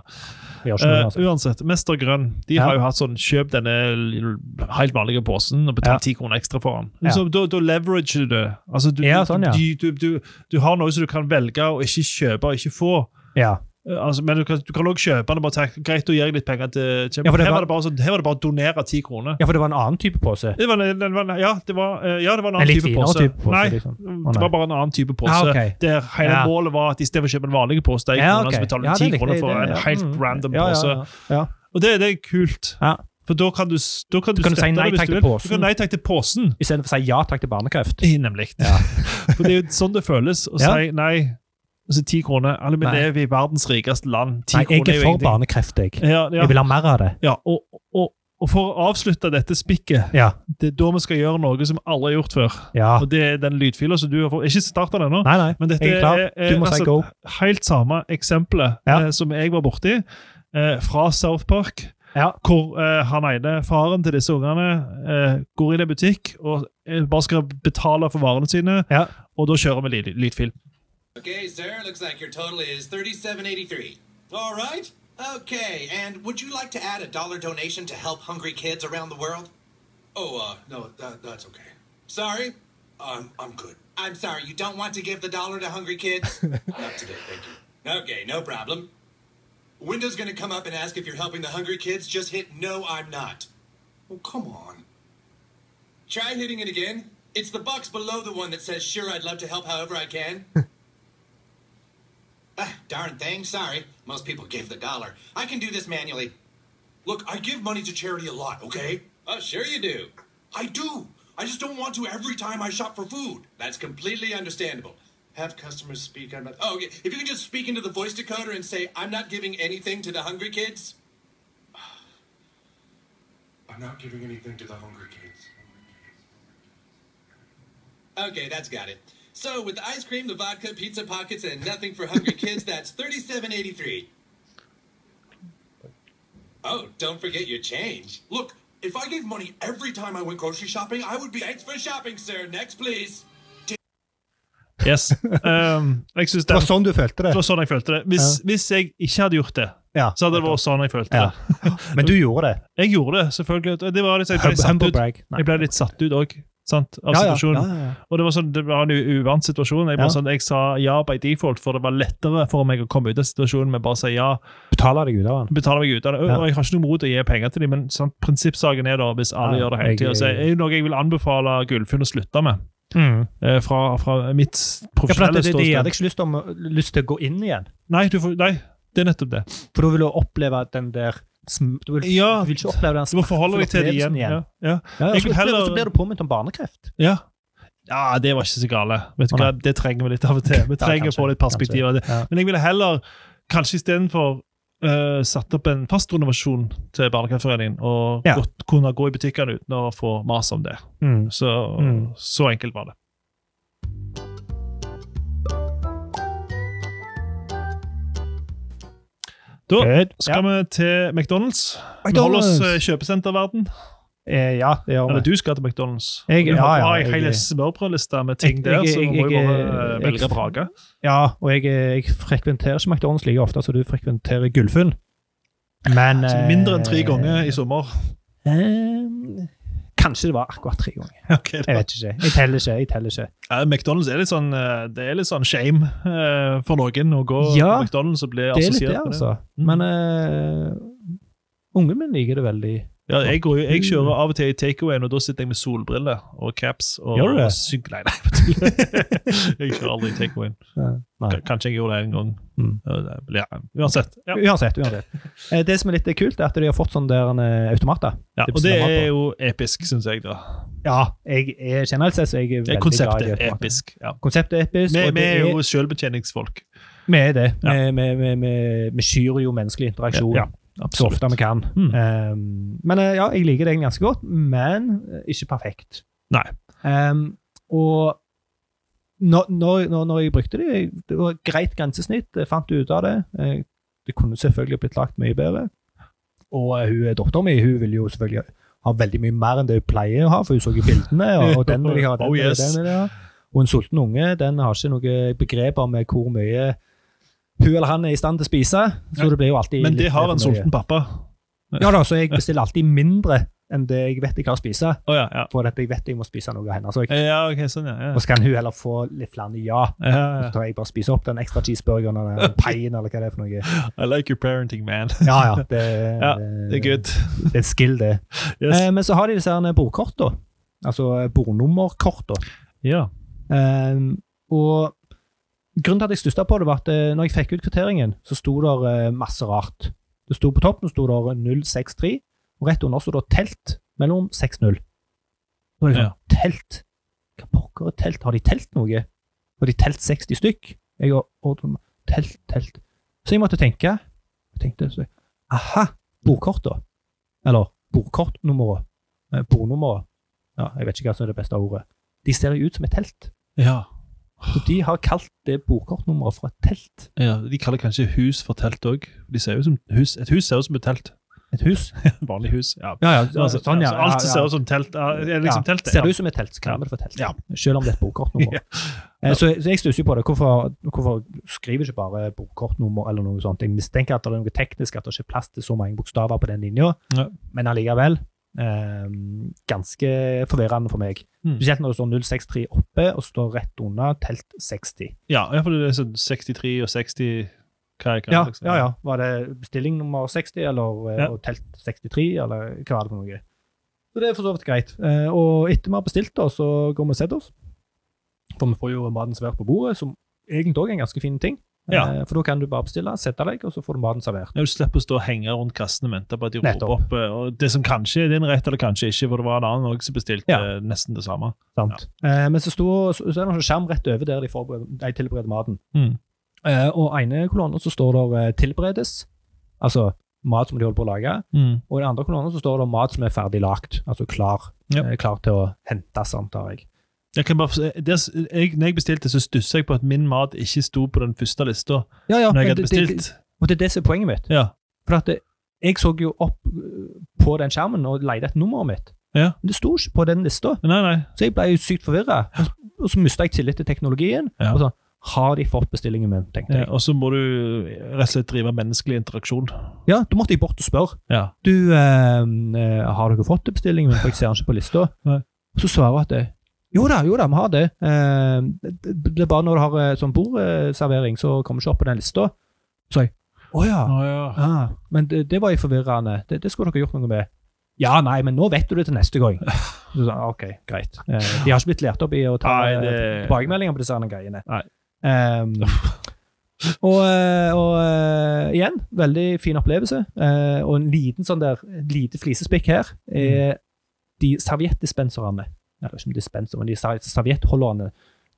Vi gjør ikke noe, Eh, altså. uansett, Mester Grønn de Ja. har jo hatt sånn kjøp denne l- helt vanlige posen og betal Ja. ti kroner ekstra for den. Ja. Så Da, da leverager du det. Altså, du, Ja, sånn, ja. du, du, du, du har noe som du kan velge å ikke kjøpe og ikke få. Ja. Eh, Altså, men du kan du kan også kjøpe den og bare tenke greit, da gir jeg litt penger til kjøp. Ja, for det her, var var- det bare sånn, her var det bare å donere ti kroner. ja, for det var en annen type pose. Det var, en- den var, ja, det var, eh, ja, det var en En annen litt type finere pose. type pose, Nei, liksom. Å, det nei. var bare en annen type pose. Ja, ok. Der hele Ja. målet var at istedenfor å kjøpe en vanlig pose, de Ja, kronene, ok. så betaler Ja, du ti det likte kroner jeg, for det- en ja. helt Mm. random Ja, ja, pose. ja, ja. Og det, det er kult. Ja. For da kan du, s- da kan du, kan du si støtte nei det hvis takk du til vil. Du posen. kan nei takk til posen. Istedenfor å si ja takk til barnekreft. Eh, Nemlig. Ja. For det er jo sånn det føles å Ja. si nei. Altså ti kroner. Alle vi Nei. lever i verdens rikeste land. Ti Nei, jeg kroner er er jo for ingenting. barnekreft, jeg. Ja, ja, Jeg vil ha mer av det. ja. Og, og, og for å avslutte dette spikket, Ja. det er da vi skal gjøre noe som alle har gjort før. ja. Og det er den lydfila som du har fått. Ikke start den ennå. Nei, nei. Men dette Jeg er klar. er, er Du må si altså, go. helt samme eksempelet Ja. eh, som jeg var borti, eh, fra South Park. Ja. hvor eh, han ene, faren til disse ungene, eh, går inn i en butikk og eh, bare skal betale for varene sine, Ja. og da kjører vi lyd, lydfilm. Okay, sir, looks like your total is 3783. All right. Okay, and would you like to add a dollar donation to help hungry kids around the world? Oh, uh, no, that, that's okay. Sorry? I'm, I'm good. I'm sorry, you don't want to give the dollar to hungry kids? Not today, thank you. okay, no problem. Window's gonna come up and ask if you're helping the hungry kids. Just hit no, I'm not. Oh, come on. Try hitting it again. It's the box below the one that says, sure, I'd love to help however I can. Ah, Darn thing, sorry. Most people give the dollar. I can do this manually. Look, I give money to charity a lot, okay? Oh, sure you do. I do. I just don't want to every time I shop for food. That's completely understandable. Have customers speak. I'm not. Oh, okay. if you can just speak into the voice decoder and say, "I'm not giving anything to the hungry kids." I'm not giving anything to the hungry kids. Okay, that's got it. So with the ice cream, the vodka, pizza pockets, and nothing for hungry kids, that's thirty-seven eighty-three. Oh, don't forget your change. Look, if I gave money every time I went grocery shopping, I would be. Thanks for shopping, sir. Next, please. Yes. Um, jeg synes Det den, var sånn du følte det det? var sånn jeg følte det. Hvis, hvis jeg ikke hadde gjort det, Ja. så hadde det vært sånn jeg følte Ja. det. Men du gjorde det. Jeg gjorde det, selvfølgelig. Det var litt, jeg, ble Humble- satt humble ut. brag. Nei. jeg ble litt satt ut òg, sant, av Ja, ja, situasjonen. ja, ja, ja. Og det var, sånn, det var en u- uvant situasjon. Jeg, bare Ja. sånn, jeg sa ja by default, for det var lettere for meg å komme ut av situasjonen med bare å si ja. Betaler deg ut av den. betaler meg ut av det. Og- Ja. Og jeg har ikke noe mot å gi penger til dem, men sant, prinsippsaken er da, hvis alle Ja, gjør det hele jeg- tida, så er det noe jeg vil anbefale Gullfunn å slutte med. eh, Fra, fra mitt Ja, for at profesjonelle det, det, det gir ståsted. deg ikke lyst, om, lyst til å gå inn igjen. Nei, du får, nei, det er nettopp det. For da vil du oppleve den der sm du, vil, Ja, du vil ikke oppleve den Du må forholde deg til det igjen. opplevelsen Ja, ja. Ja, og Jeg så vil opplever- heller- så blir du påminnet om barnekreft. ja. ja, det var ikke så gale. Vet du Å, hva? Det trenger vi litt av og til. Vi Ja, trenger å kanskje, få litt perspektiv av det. kanskje, ja. Men jeg ville heller kanskje istedenfor uh, satt opp en fast renovasjon til Barnekreftforeningen og Ja. godt kunne gå i butikkene uten å få mas om det. Så, Mm. så enkelt var det. Da Good. skal vi til McDonald's. Vi holder oss eh, i kjøpesenterverden. Eh, ja, det gjør Eller vi. du skal til McDonald's. Jeg- du ja, har ja, bare en jeg- hel smørbrødliste med ting Jeg- der, jeg- så nå må jeg- vi bare jeg- eh, velge jeg- Braga. Ja, og jeg, eh, jeg frekventerer ikke McDonald's like ofte som du frekventerer Gullfunn. Men Så eh, altså, mindre enn tre ganger i sommer. eh, Kanskje det var akkurat tre ganger. Okay, Jeg vet ikke. Jeg teller ikke. jeg teller ikke. Ja, McDonald's er litt sånn eh, Det er litt sånn shame eh, for noen å gå på Ja, McDonald's og bli Det er litt det, assosiert med det. Mm. altså. Men eh, ungen min liker det veldig. Ja, jeg, går, jo- Mm. jeg kjører av og til i takeawayen, og da sitter jeg med solbriller og caps. Og, Gjør du det? og syk- nei, nei, jeg tuller. jeg kjører aldri i takeawayen. Nei. K- Kanskje jeg gjorde det en gang. Mm. Ja, det blir- Ja, uansett. Ja. Uansett. uansett. Eh, Det som er litt kult, er at de har fått sånne der, eh, automater. Ja, og Det det bestemmer er på. jo episk, syns jeg. da. Ja, jeg er generelt sett så er jeg Det er veldig glad i konseptet automater. episk. Ja. Konseptet er episk. Vi, og vi det er jo selvbetjeningsfolk. vi er det. Ja. Vi- Vi vi- vi- vi skyr jo menneskelig interaksjon Ja, så absolutt. ofte vi kan. Mm. Um, men eh, ja, jeg liker det ganske godt, men eh, ikke perfekt. Nei. Um, og når, når, når- når jeg brukte det, jeg- det var et greit grensesnitt, jeg fant ut av det. Eh, Det kunne selvfølgelig blitt lagt mye bedre. Og eh, hun dattera mi hun vil jo selvfølgelig ha veldig mye mer enn det hun pleier å ha, for hun så jo bildene, og, og den vil jeg ha, den Oh, vil jeg ha, yes. den vil jeg ha. Og en sulten unge den har ikke noe begrep om eh, hvor mye hun eller han er i stand til å spise, så Ja. det blir jo alltid Men det litt har mer en for mye. sulten pappa. Ja da, så jeg bestiller alltid mindre enn det jeg vet jeg har å spise, Å ja, ja. for at jeg vet jeg må spise noe av henne. Så jeg Ja, ok, sånn, ja. ja. og så kan hun heller få litt flere ja. ja, Og ja. Så tar jeg bare spise opp den ekstra cheeseburgeren eller den paien eller hva det er for noe. I like your parenting, man. Ja, ja. Det, Ja, Det er good. Det er et skill, det. Yes. Eh, men så har de disse her bordkortene. Altså eh, bordnummerkortene. Ja. Eh, og grunnen til at jeg stussa på det, var at eh, når jeg fikk ut kvitteringen, så sto det eh, masse rart. Det sto på toppen sto eh, det 063, og rett under sto det telt mellom 6-0. Så var jeg sånn, Telt? Hva pokker er telt? Har de telt noe? Har de telt 60 stykk? Jeg og, og, telt, telt. Så jeg måtte tenke. Jeg tenkte, så jeg, aha, bordkortet. Eller bordkortnummeret. Eh, Bordnummeret. Ja, jeg vet ikke hva som er det beste ordet. De ser jo ut som et telt. Ja. Og de har kalt det bordkortnummeret for et telt. ja. De kaller kanskje hus for telt òg. Et hus ser ut som et telt. Et hus. Vanlig hus. Ja. Ja, ja, Altså, altså, alt ser ut som telt. Ja, er det liksom teltet. Ser det ut som et telt, så kaller vi det for telt. Ja. Selv om det er et bordkortnummer. Ja. Eh, Så, så jeg stusser jo på det. Hvorfor, hvorfor skriver du ikke bare bordkortnummer eller noe sånt? Jeg mistenker at det er noe teknisk, at det ikke er plass til så mange bokstaver på den linja, Ja. men allikevel eh, ganske forvirrende for meg. Mm. Spesielt når det står 063 oppe og står rett under telt 60. Ja, ja, for det er sånn 63 og 60 hva er det? Ja, ja, ja. Var det bestilling nummer 60, eller eh, Ja. og telt 63, eller hva var det for noe? Så det er for så vidt greit. Eh, Og etter vi har bestilt det, så går vi og setter oss. For vi får jo maten servert på bordet, som egentlig òg er en ganske fin ting. Ja. Eh, For da kan du bare bestille, sette deg, og så får du maten servert. Ja, Du slipper å stå og henge rundt kassen og vente på at de roper Nettopp. opp. eh, Og det som kanskje er din rett, eller kanskje ikke, for det var en annen også som bestilte Ja. eh, nesten det samme. Sant? Eh, Men så, sto, så, så er det en sånn skjerm rett over der de, forbereder, de tilbereder maten. Mm. Eh, Og ene kolonnen så står der eh, 'tilberedes', altså mat som de holder på å lage. Mm. Og i den andre kolonnen så står det mat som er ferdig lagt, altså klar, Ja. eh, klar til å hentes, antar jeg. Jeg kan bare, f- det, s- eh, jeg, når jeg bestilte, så stussa jeg på at min mat ikke sto på den første lista. Ja, ja, når jeg hadde men det- det- bestilt. Og det er det som er poenget mitt. ja. For at det, jeg så jo opp øh, på den skjermen og leide etter nummeret mitt. Ja. Men det sto ikke på den lista, Nei, nei. så jeg ble jo sykt forvirra. Og så mista jeg tillit til teknologien. Ja. Og sånn, har de fått bestillingen min, tenkte Ja, jeg. Eh, og så må du eh, rett og slett drive menneskelig interaksjon. Ja, Da måtte jeg bort og spørre. Ja. Du, ehm, eh, har dere fått bestillingen min, for jeg ser den ikke på lista? Nei. Og så svarer hun at eh, jo da, jo da, vi har det. Ehm, det det er bare når du har eh, sånn bordservering, så kommer ikke opp på den lista. Så jeg å ja. ja. Ah, men det, det var jo forvirrende. Det, det skulle dere gjort noe med. Ja, nei, men nå vet du det til neste gang. Så sa jeg, ok, greit. Eh, de har ikke blitt lært opp i å ta Nei, eh, det- tilbakemeldinger på disse her greiene. Nei. Ehm, og, eh, og eh, igjen, veldig fin opplevelse. Eh, og en liten sånn der, et lite flisespikk her er Mm. de serviettdispenserne. Nei, det er ikke en dispenser, men de ser- serviettholderne.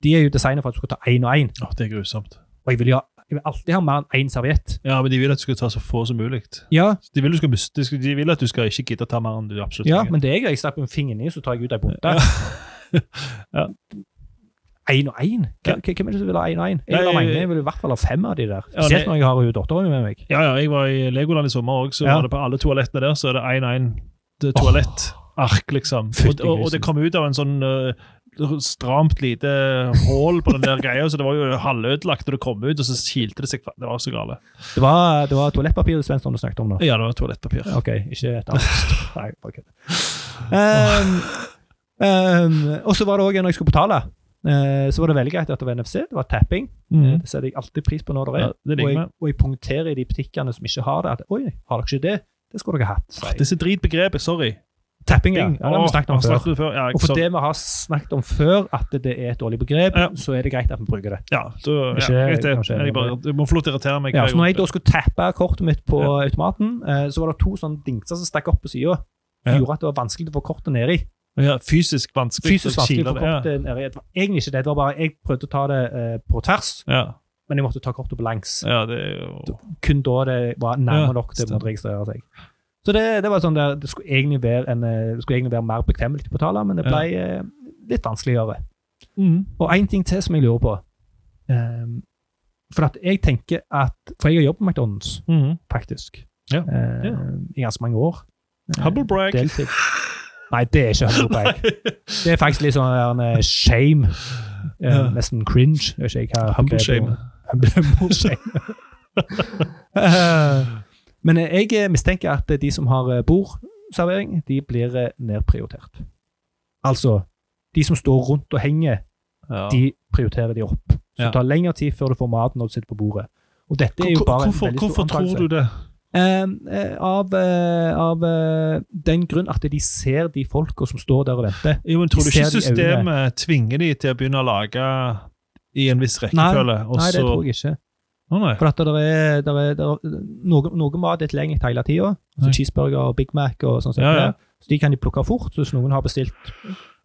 De er jo designet for at du skal ta én og én. Å, det er grusomt. Og jeg vil, jo ha, jeg vil alltid ha mer enn én serviett. Ja, men de vil at du skal ta så få som mulig. Ja, De vil, du skal, miste- de skal- de vil at du skal ikke gidde å ta mer enn du absolutt Ja, trenger. men det er jeg. Jeg stapper en finger ned, så tar jeg ut ei bunte. Ja. Én og én? Ja. Hvem hvem er det som vil ha én og én? Jeg vil Nei, ha mange, jeg- jeg vil i hvert fall ha fem av de der. Ja, Spesielt det- når jeg har jo dattera mi med meg. Ja, ja, jeg var i Legoland i sommer òg, så Ja. var det på alle toalettene der så er det 1-1 toalettark, liksom. Og, Fytti og, og grisen. det kom ut av en sånn eh, stramt lite hull på den der greia, så det var jo halvødelagt når det kom ut, og så kilte det seg fra- Det var så gale. Det var, det var toalettpapir Svensson du snakket om nå. Ja, det var toalettpapir. Ok, ikke et annet. Nei, bare kødd. Ehm, ehm, og så var det òg, når jeg skulle betale, eh, så var det veldig greit at det var NFC. Det var tapping. Eh, Mhm. Det setter jeg alltid pris på når det er. Ja, det liker og, jeg, vi. og jeg punkterer i de butikkene som ikke har det. At, Oi, har dere ikke det? Det skulle dere hatt. sier jeg. Disse dritbegrepet, sorry. Tapping, ja. ja det har Åh, vi snakket om har før. vi før. Ja, jeg, Og for sorry. det vi har snakket om før, at det er et dårlig begrep, Ja. så er det greit at vi bruker det. ja, da, Ikke- ja, greit det. kanskje- Jeg bare, du må få lov til å irritere meg. Ja, hver så når jeg gang. da skulle tappe kortet mitt på Ja. automaten, eh, så var det to sånne dingser som stakk opp på sida. Som Ja. gjorde at det var vanskelig å få kortet nedi. ja, fysisk vanskelig. Fysisk å vanskelig å kile få det, kortet nedi. Det var egentlig ikke det, det var bare jeg prøvde å ta det eh, på tvers, Ja, men jeg måtte ta kortet på langs. ja, ja det er jo Kun da det var nærme Ja, nok til å stemmer. måtte registrere seg. Så det, det var sånn der, det skulle egentlig være, en, eh, det skulle egentlig være mer bekvemmelig til å betale, men det ble eh, litt vanskeligere. Og en ting til som jeg lurer på. Ehm, for at jeg tenker at For jeg har jobbet på McDonald's, Mhm. faktisk, Ja, Ehm, ja. i ganske mange år. Humble brag. Deltid. Nei, det er ikke humble brag. Det er faktisk litt sånn der, eh, shame. Eh, Ja. Nesten cringe. Jeg vet ikke hva Humble begrepet- shame. Humble shame. Eh, Men eh, jeg eh, mistenker at eh, de som har eh, bordservering, de blir eh, nedprioritert. Altså, de som står rundt og henger Ja. de prioriterer de opp. Så Ja. det tar lengre tid før du får maten når du sitter på bordet. Og dette er jo Hvor- bare hvorfor, en veldig stor hvorfor tror du det? Eh, av eh, av eh, den grunn at de ser de folka som står der og venter. Jo, men tror De du ser ikke det i systemet tvinger de til å begynne å lage i en viss rekkefølge? og Nei, det så- tror jeg ikke. Å, nei. For at det er, der er, der er noe, noe mat er tilgjengelig hele tida. Nei. Altså cheeseburger og Big Mac og sånn. som Ja, det er. ja. Så de kan de plukke fort. Så hvis noen har bestilt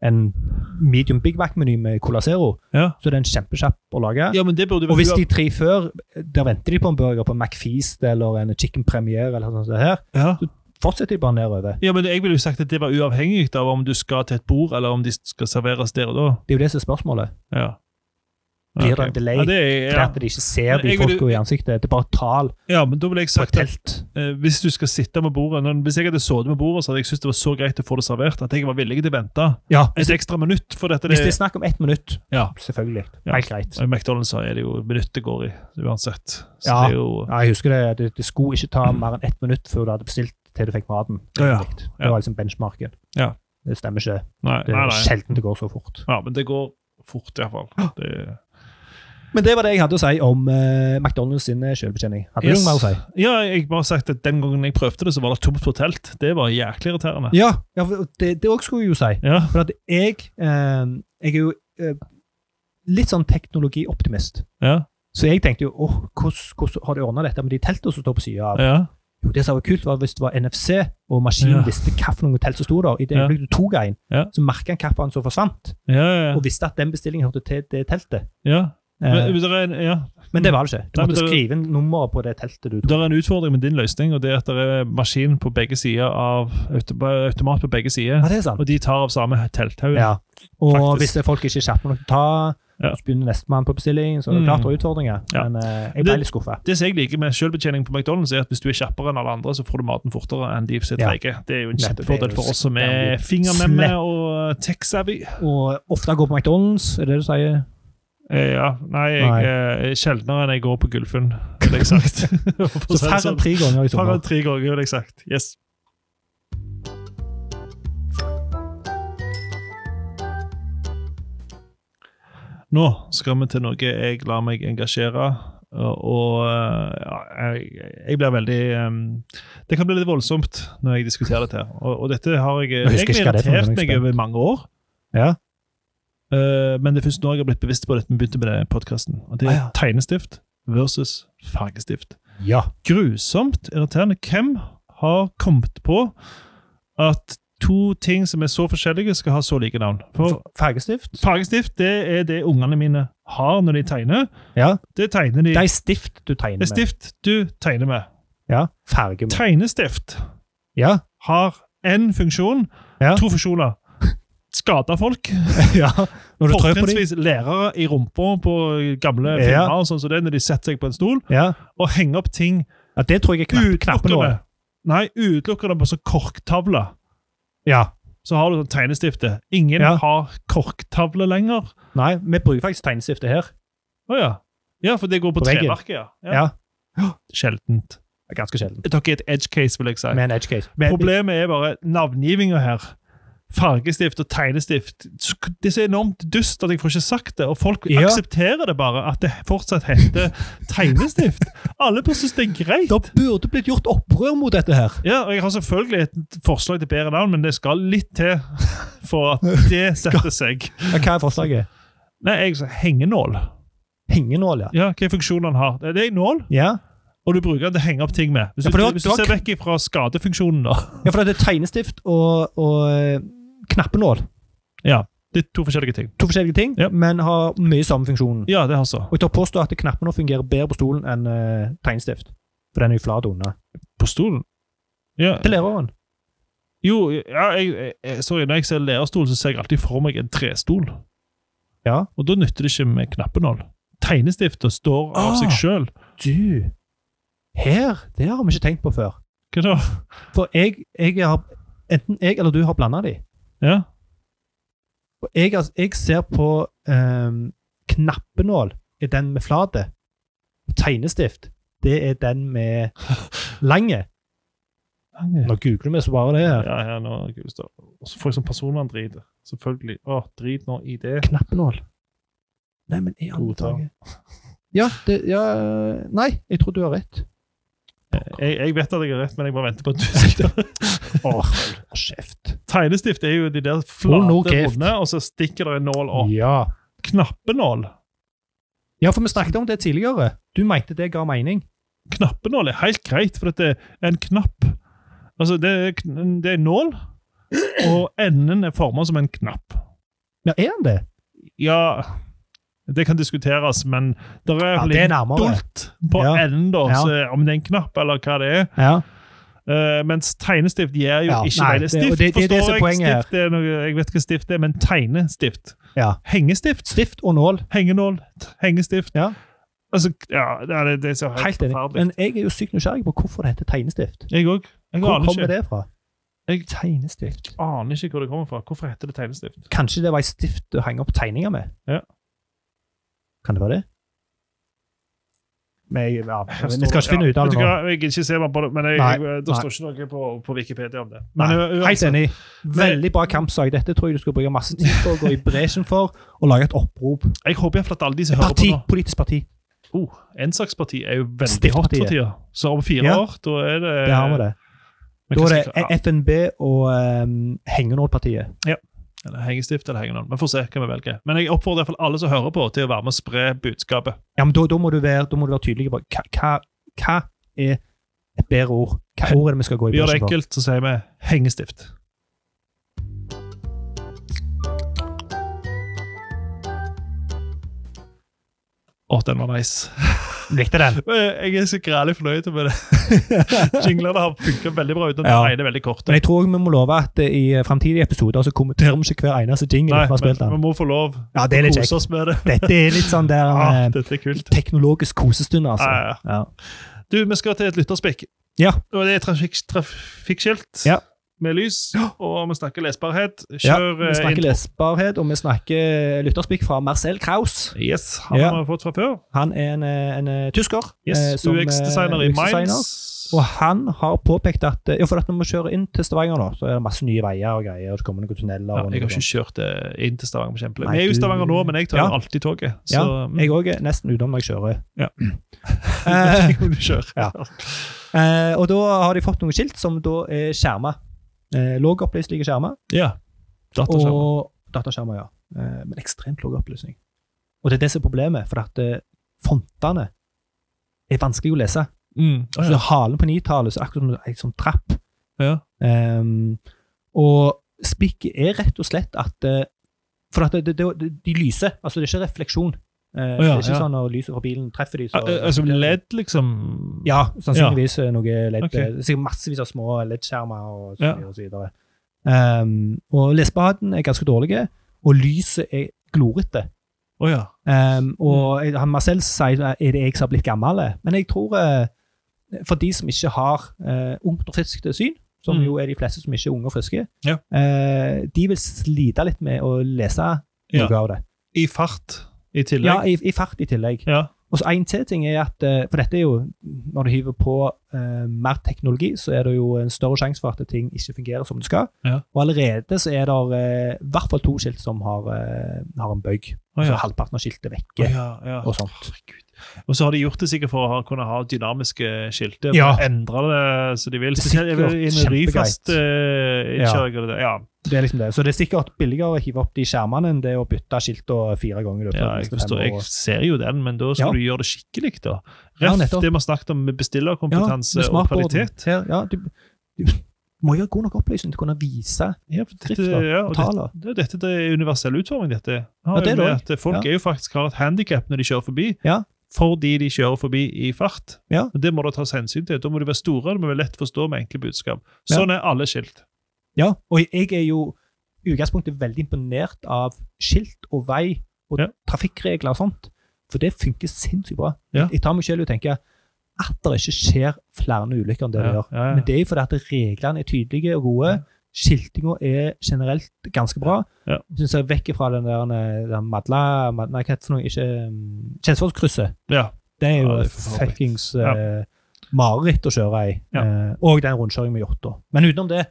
en medium Big Mac-meny med Cola Zero, Ja. så er den kjempekjapp å lage. ja, men det burde Og hvis vel- de tre før, eh, der venter de på en burger på en McFeast eller en chicken premiere eller noe sånt som det her, ja. fortsetter de bare nedover. ja, men Jeg ville jo sagt at det var uavhengig av om du skal til et bord, eller om de skal serveres der og da. Det er jo det som er spørsmålet. Ja. Blir Ok. det en delay? Ja, det er, Det ja. er at de ikke ser Men de jeg vil jo- folka i ansiktet. Det er bare tall ja, men da ville jeg på et sagt at telt. eh, hvis du skal sitte med bordet når, Hvis jeg hadde sittet med bordet, så hadde jeg syntes det var så greit å få det servert at jeg var villig til å vente Ja, et ekstra minutt. for dette. Hvis det er snakk om ett minutt, ja. selvfølgelig. Ja. Helt greit. I McDonald's er det jo minutt det går i, uansett. Så Ja. det er jo... Ja, jeg husker det, det, det skulle ikke ta mer enn ett minutt før du hadde bestilt til du fikk maten. Ja, ja. Det var liksom benchmarken. Ja. Det stemmer ikke. Nei, Det nei, er nei. sjelden det går så fort. Ja, men det går fort, iallfall. Det... Men det var det jeg hadde å si om eh, McDonald's sin eh, selvbetjening. Hadde du Yes. noe mer å si? Ja, jeg bare har sagt at den gangen jeg prøvde det, så var det tomt for telt. Det var jæklig irriterende. Ja, ja for det, det også skulle jeg jo si. Ja, For at jeg, eh, jeg er jo eh, litt sånn teknologioptimist. ja, Så jeg tenkte jo åh, hvordan, hvordan har de ordna dette med de teltene som står på sida av? Ja. Jo, det som var kult, var hvis det var NFC, og maskinen Ja. visste hvilket telt som sto der. I det Ja. øyeblikket du tok en, Ja. så merka han hvilken som forsvant, Ja, ja, ja. og visste at den bestillingen hørte til det teltet. ja. Eh, Men, men der, er en, ja. men det var det ikke. Du Nei, men måtte det- skrive inn nummeret på det teltet du tok. der er en utfordring med din løsning, og det er at det er maskin på begge sider av auto, automat på begge sider, Ja, det er sant. og de tar av samme telthauge. Ja. Og Faktisk. hvis det er folk ikke er kjappe nok til å ta, Ja. så begynner nestemann på bestilling, så er det Mm. klart det er utfordringer. Ja. Men eh, jeg ble Det- litt skuffa. Det som jeg liker med selvbetjening på McDonald's, er at hvis du er kjappere enn alle andre, så får du maten fortere enn de som er Ja. treige. Det er jo en Nettopp. kjempefordel for oss som er Det er jo fingermemme slett. og tech-savvy. Og ofte går på McDonald's, er det det du sier? Eh, Ja, nei, jeg Nei. eh, er sjeldnere enn jeg går på Gullfunn, ville jeg sagt. For å Så si det færre sånn. enn tre ganger i Færre sommer. enn tre ganger, ville jeg sagt. Yes. Nå skal vi til noe jeg lar meg engasjere, og eh, ja, jeg, jeg blir veldig eh, Det kan bli litt voldsomt når jeg diskuterer dette. her. Og, og dette har jeg Jeg husker egentlig ikke hva det er for noe, irritert men jeg meg er over mange år. Ja. Eh, men det er først nå jeg har blitt bevisst på dette, vi begynte med det i podkasten. Og det er Ah, ja. tegnestift versus fargestift ja. grusomt irriterende. Hvem har kommet på at to ting som er så forskjellige, skal ha så like navn? For Fargestift? fargestift det er det ungene mine har når de tegner. Ja. Det tegner de Det er stift du tegner Det er stift du tegner med. med. Ja. Farge med. Tegnestift Ja. har én funksjon, Ja. to funksjoner. Skade folk. ja. Når du trør på dem. Fortrinnsvis lærere i rumpa på gamle filmer Ja. og sånn som det, når de setter seg på en stol. Ja. Og henger opp ting ja. Det tror jeg er knapp, knappen utelukkende vår. Nei, utelukkende på sånn korktavle. Ja. så har du sånn tegnestifte. Ingen Ja. har korktavle lenger. Nei, vi bruker faktisk tegnestiftet her. Å ja. Ja, for det går på, På veggen. treverket, ja. Ja. Sjeldent. Det er Ganske sjelden. Dere er et edge case, vil jeg si. Med en edge case. Men- Problemet er bare navngivinga her. Fargestift og tegnestift. Det er så enormt dust at jeg får ikke sagt det. Og folk Ja. aksepterer det bare, at det fortsatt heter tegnestift. Alle bare syns det er greit. Det burde blitt gjort opprør mot dette her. Ja, og Jeg har selvfølgelig et forslag til bedre navn, men det skal litt til for at det setter seg. Ja, Hva er forslaget? Nei, jeg sa hengenål. Hengenål, ja. Ja, hva funksjon den har. Det det er en nål, Ja. og du bruker den til å henge opp ting med. Hvis Ja, du, for det var- hvis det du var ser vekk fra skadefunksjonen, da. Ja, for det er tegnestift og, og eh, knappenål. Ja, det er to forskjellige ting. To forskjellige ting, Ja. men har mye samme funksjon. Ja, det altså. har så. Og jeg tør påstå at knappenål fungerer bedre på stolen enn eh, tegnestift. For den er jo flat unna. På stolen? Ja. Til læreren. Jo, ja, jeg, jeg, sorry, når jeg ser lærerstol, så ser jeg alltid for meg en trestol. Ja. Og da nytter det ikke med knappenål. Tegnestifter står av Ah. seg sjøl. Du, her, det har vi ikke tenkt på før. Hva da? For jeg, jeg har, enten jeg eller du har blanda de. Ja. Og jeg, altså, jeg ser på eh, knappenål er den med flate. Tegnestift, det er den med lange. Ja, Nå googler vi så bare det her. ja, nå gud, så- Og så får jeg sånn personverndrit. Selvfølgelig. Å, drit nå i det. Knappenål. Nei, men i alle Godta. dager ja, det, ja Nei, jeg tror du har rett. Jeg, jeg vet at jeg har rett, men jeg bare venter på at du skal Åh, kjeft. Tegnestift er jo de der flate, Oh, no gift. runde, og så stikker det en nål opp. Ja. Knappenål ja, for vi snakket om det tidligere. Du mente det ga mening. Knappenål er helt greit, for dette er en knapp. Altså, det er, kn- det er en nål, og enden er formet som en knapp. Ja, er han det? Ja, det kan diskuteres, men det er Ja, litt det er nærmere. dolt på Ja. enden, da, Ja. så om det er en knapp eller hva det er. Ja. Eh, mens tegnestift gjør jo Ja, ikke nei, det. det- Stift og det- det er det som forstår er jeg. poenget her. Stift er noe, jeg vet ikke hva stift er, men tegnestift. ja. Hengestift. Stift og nål. Hengenål. t- Hengestift. Ja. Altså, ja, det er, det er så helt Helt enig. forferdelig. Men jeg er jo sykt nysgjerrig på hvorfor det heter tegnestift. Jeg òg. Jeg Hvor aner kommer ikke. det fra? Jeg- Tegnestift. aner ikke hvor det kommer fra. Hvorfor heter det tegnestift? Kanskje det var ei stift å henge opp tegninger med? Ja. Kan det være det? Men jeg, ja, Her vi står skal det- ikke finne ja, ut av vet det du nå. hva, Jeg ikke meg på det, men jeg, Nei, jeg, det nei. står ikke noe på, på Wikipedia om det. Men, altså, Nei, u- Helt uansett, enig. Veldig bra kampsak. Dette tror jeg du skal bruke masse tid på å gå i bresjen for og lage et opprop. jeg håper i hvert fall at alle de som hører Parti, på nå Politisk parti. oh, En slags parti er jo veldig hot Stiftpartiet. for tida. Så om fire Ja. år, da er det Det har vi det. Eh, Men Da hva er skal jeg- ehm, det FNB og um, Hengenålpartiet. Ja. Eller hengestift eller hengenål. Vi får se hva vi velger. Men jeg oppfordrer i hvert fall alle som hører på, til å være med og spre budskapet. Ja, men da, da, må, du være, da må du være tydelig på hva, hva, hva er et bedre ord. Hva ord er det vi skal gå i Vi gjør det bresjen for? enkelt, så sier vi hengestift. Å, den var nice. Likte den. Jeg er så grælig fornøyd med det. Jinglene har funka veldig bra uten at Ja. den ene er veldig kort. Men jeg tror vi må love at eh, i framtidige episoder så kommenterer vi ikke hver eneste jingle Nei, vi har spilt men vi den. må få lov. Ja, det er litt Kose kjekt. oss med det. Dette er litt sånn der Ah, eh, dette er kult. Ah, teknologisk kosestund, altså. Ja, Ja. Du, vi skal til et lytterspikk. Ja. Og det er trafikk, trafikkskilt Ja. med lys, og vi snakker lesbarhet. Ja, Kjør vi eh, snakker intro. lesbarhet, og vi snakker eh, lytterspikk fra Marcel Kraus. Yes, han Ja. har vi fått fra før. Han er en, eh, en eh, tysker. eh, Yes, som, eh, UX-designer i UX-designer. Minds. Og han har påpekt at eh, ja, for at når vi kjører inn til Stavanger nå, så er det masse nye veier og greier, og det kommer noen tunneler. Ja, og jeg har noe sånt. ikke kjørt eh, inn til Stavanger på kjempelenge. Nei, Vi er jo i du- Stavanger nå, men jeg tar jo Ja. alltid toget. Så Ja, mm, jeg òg er nesten utenom når jeg kjører. Ja. eh, jeg må jo kjøre. Ja. eh, og da har de fått noen skilt som da er skjerma. Eh, Lågopplystelige skjermer. Ja. Dataskjerm. Og dataskjermer, ja. Eh, men ekstremt lav opplysning. Og det er det som er problemet, for at eh, fontene er vanskelig å lese. Mm. Og så halen på nitallet så er det akkurat som en sånn trapp. Ja. Ehm, og spikket er rett og slett at eh, For at det, det, det, de lyser. Altså, det er ikke refleksjon. Eh, det er ikke ja. sånn når lyset fra bilen treffer de, Ja, så eh, Altså LED, liksom? Ja, sannsynligvis eh, noe LED. Ok. eh, Sikkert massevis av små LED-skjermer og så Ja. videre. Og, så videre. Ehm, og lesbarheten er ganske dårlig, og lyset er glorete. Å ja. Mm. Um, og jeg- han Marcel sier er det jeg som har blitt gammel. Men jeg tror eh, for de som ikke har eh, ungt og friskt syn, som Mm. jo er de fleste som ikke er unge og friske, Ja. eh, de vil slite litt med å lese noe Ja. av det. I fart i Ja, tillegg? i, i fart i tillegg. Ja. Og så En til ting er at eh, For dette er jo Når du hiver på eh, mer teknologi, så er det jo en større sjanse for at ting ikke fungerer som det skal. Ja. Og allerede så er det eh, i hvert fall to skilt som har, eh, har en bøyg. Å Så ja. halvparten av skiltet er Å vekke. ja, ja. Og sånt. Og så har de gjort det sikkert for å ha, kunne ha dynamiske skilter. Ja. Endre det som de vil. Spesielt Sikkert. i en Ryfast. eh, Ja. innkjøring og det der. Ja. Det er liksom det. Så det er sikkert billigere å hive opp de skjermene enn det å bytte skiltene fire ganger. i løpet Ja, av de jeg, neste forstår, fem jeg årene. ser jo den, men da skal Ja. du gjøre det skikkelig. da. Ja, Rett nettopp. det vi har snakket om med bestillerkompetanse med og smartboarden. kvalitet. Her, ja, du, du må gjøre god nok opplysning til å kunne vise Ja, for dette, Skrift, da. ja, og dette, tallene. det, dette det er universell utforming, dette. Ja, Har det er jo med det at folk Ja. er jo faktisk har et handikap når de kjører forbi, Ja. fordi de kjører forbi i fart. Ja. Og Det må det tas hensyn til. Da må de være store, det må være lett å forstå med enkle budskap. Ja. Sånn er alle skilt. Ja, og jeg er jo i utgangspunktet veldig imponert av skilt og vei og Ja. trafikkregler og sånt, for det funker sinnssykt bra. Ja. Jeg tar meg selv og tenker at det ikke skjer flere ulykker enn det det Ja, gjør. ja, ja. Men det er jo fordi at reglene er tydelige og gode. Skiltinga er generelt ganske bra. Ja. Jeg Synes jeg er vekk fra den der eh, den madla, mad, Nei, hva heter det for noe? Ikke um, Kjensvollkrysset. Ja. Det er jo Ja, det er forferdelig. fuckings Ja. eh, mareritt å kjøre i. Ja. Eh, og den rundkjøringen med hjorta. Men utenom det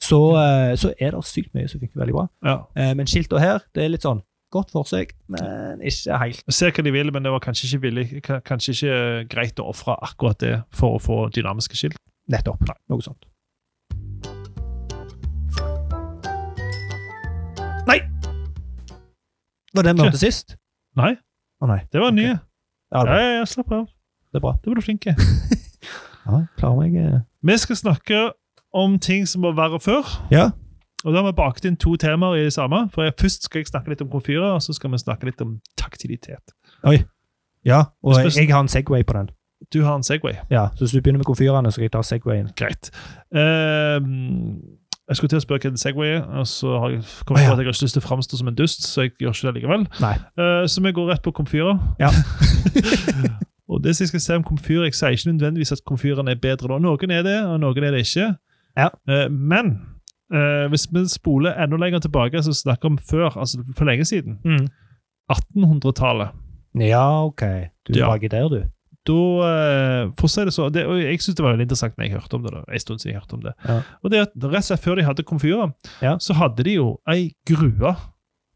så, eh, så er det sykt mye som funker veldig bra. ja. Eh, men skilta her, det er litt sånn godt forsøk, men ikke helt. Jeg ser hva de vil, men det var kanskje ikke, villig, ka- kanskje ikke greit å ofre akkurat det for å få dynamiske skilt. Nettopp. Noe sånt. Nei! Var det vi hørte sist? Nei, Å nei. det var en ny. Ja, det Ja, er bra. ja, ja, slapp av. Det er bra. Det var du flink i. Ja, klarer meg eh. Vi skal snakke om ting som var verre før. Ja. Og da har vi bakt inn to temaer i det samme. For jeg, Først skal jeg snakke litt om komfyrer, og så skal vi snakke litt om taktilitet. Ja, og Spørs- jeg har en Segway på den. Du har en Segway. Ja, Så hvis du begynner med komfyrene, så skal jeg ta Segwayen. Greit. Ehm, jeg skulle til å spørre hva en Segway er, og så har jeg kommet Å, ja. på at jeg har ikke lyst til å framstå som en dust, så jeg gjør ikke det likevel. Nei. Eh, så vi går rett på komfyrer. Ja. og det som jeg skal si om komfyrer, jeg sier ikke nødvendigvis at komfyrene er bedre nå. Noen er det, og noen er det ikke. Ja. Eh, men eh, hvis vi spoler enda lenger tilbake, så snakker vi om før, altså for lenge siden, 1800-tallet. Ja, OK. Du er Ja. baki der, du. da eh, For å si det så, det, og Jeg synes det var veldig interessant når jeg hørte om det. da, en stund siden jeg hørte om det. Ja. Og det at Rett og slett før de hadde komfyrer, Ja. så hadde de jo ei grue.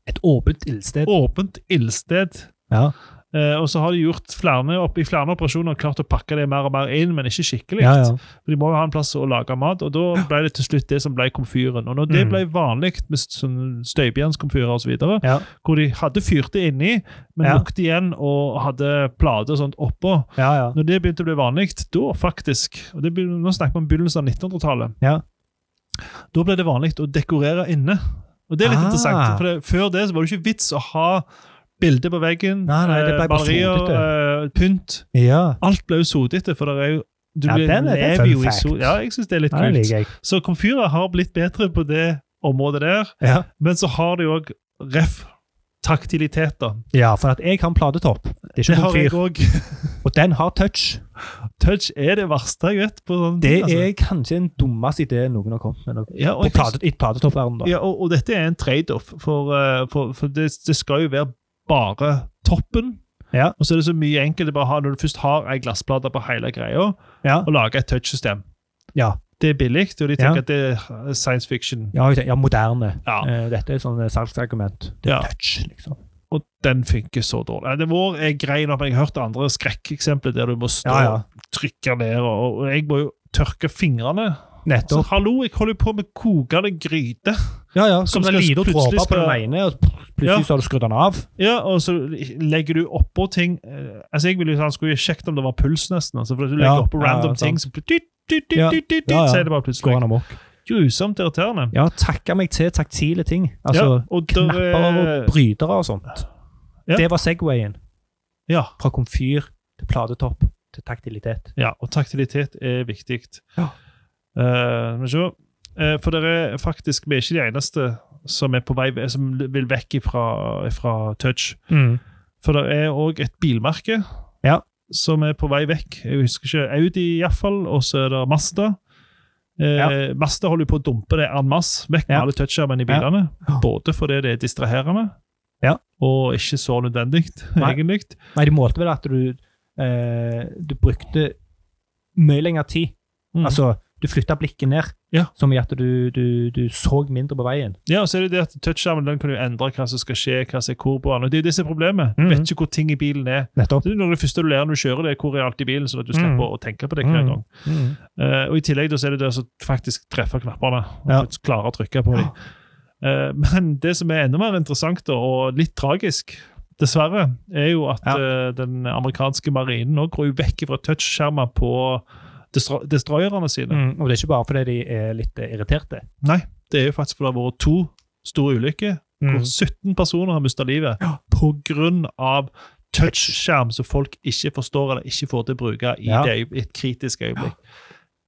Et åpent ildsted. Åpent ildsted. Ja. Eh, og så har de gjort flere, opp, i flere operasjoner klart å pakke det mer og mer inn, men ikke skikkelig. Ja, ja. For De må jo ha en plass å lage mat, og da ble det til slutt det som ble komfyren. Og når det Mm. ble vanlig med sånn støybjernskomfyrer osv., videre, Ja. hvor de hadde fyrt det inni, men Ja. lukket igjen og hadde plater og sånt oppå Ja, ja. Når det begynte å bli vanlig, da faktisk og det, begyn- Nå snakker vi om begynnelsen av 1900-tallet. Ja. Da ble det vanlig å dekorere inne. Og det er litt Ah. interessant, for det, Før det så var det ikke vits å ha bilder på veggen, Nei, nei, det eh, ble bare malerier, eh, pynt. ja. Alt ble jo sotete, for det er jo du Ja, blir- den er- det lever er fun jo i fact. sot- Ja, jeg syns det er litt Ja, Det kult. liker jeg. Så komfyrer har blitt bedre på det området der, Ja. men så har de òg ref. Taktiliteter. ja, for at jeg kan platetopp. Det er Det ikke har jeg komfyr. òg. Og den har touch. Touch er det verste jeg vet. på sånne Det ting, altså. er kanskje den dummeste ideen noen har kommet med. ja, og På jeg forstår- plate, I platetoppverdenen, da. Ja, og, og dette er en trade-off, for, eh, for, for det, det skal jo være bare toppen. Ja. Og så er det så mye enkelt å bare ha når du først har ei glassplate på hele greia, Ja. og lage et touchsystem. Ja. Det er billig, og de tenker Ja. at det er science fiction. Ja, jeg tenker- ja moderne. Ja. Eh, Dette er sånn eh, salgsargument. Det Ja. er touch, liksom. Og den funker så dårlig. Nei, Det vår er grei nok, men jeg har hørt andre skrekkeksempler der du må stå Ja, ja. og trykke ned, og, og jeg må jo tørke fingrene. Så Nettopp. hallo, jeg holder jo på med kokende gryte. Ja, ja. Som Som det er skal- lite plutselig dråper på den skal- ene, og plutselig Ja. så har du skrudd den av. Ja, og så legger du oppå ting eh, Altså, jeg ville jo han skulle jo sjekket om det var puls, nesten. Altså, for du legger Ja, oppå ja, random ja, sant. ting, så blir dytt, dytt, dytt, Ja, dytt, dytt, ja, ja. så er det bare Går plutselig han amok. grusomt irriterende. Ja, takke meg til taktile ting. Ja, Altså og eh, der er- knapper og brytere og sånt. Ja. Det var Segwayen. Ja, Fra komfyr til platetopp til taktilitet. ja, og taktilitet er viktig. Ja. Eh, men se, eh, for dere er faktisk Vi er ikke de eneste som er på vei Som vil vekk ifra, ifra touch. For det er òg et bilmerke Ja. som er på vei vekk. Jeg husker ikke Audi, iallfall. Og så er det Mazda. Eh, Ja. Mazda holder jo på å dumpe det en masse. Vekk med Ja. alle touchskjermene i Ja. bilene. Ja. Både fordi det er distraherende, Ja. og ikke så nødvendig, Nei. egentlig. Nei, de målte vel at du, eh, du brukte mye lengre tid. Mm. Altså, du flytta blikket ned, Ja. som i at du, du, du så mindre på veien. Ja, og så er det det at touchskjermen den kan jo endre hva som skal skje, hva som er hvor på den. Og Det er jo det som er problemet. Du Mhm. vet ikke hvor ting i bilen er. Nettopp. Det er noe av det første du lærer når du kjører, det er hvor er alt i bilen, sånn at du slipper Mhm. å tenke på det hver Mhm. gang. Eh, og I tillegg da, så er det det som faktisk treffer knappene. og Ja. faktisk klarer å trykke på dem. Eh, men det som er enda mer interessant da, og litt tragisk, dessverre, er jo at Ja. eh, den amerikanske marinen nå går jo vekk fra touchskjermer på destro destroyerne sine. Mm, og det er ikke bare fordi de er litt eh, irriterte. Nei, det er jo faktisk fordi det har vært to store ulykker hvor 17 personer har mista livet Mm. Ja. på grunn av touchskjerm som folk ikke forstår eller ikke får til å bruke i Ja. det øye- et kritisk øyeblikk.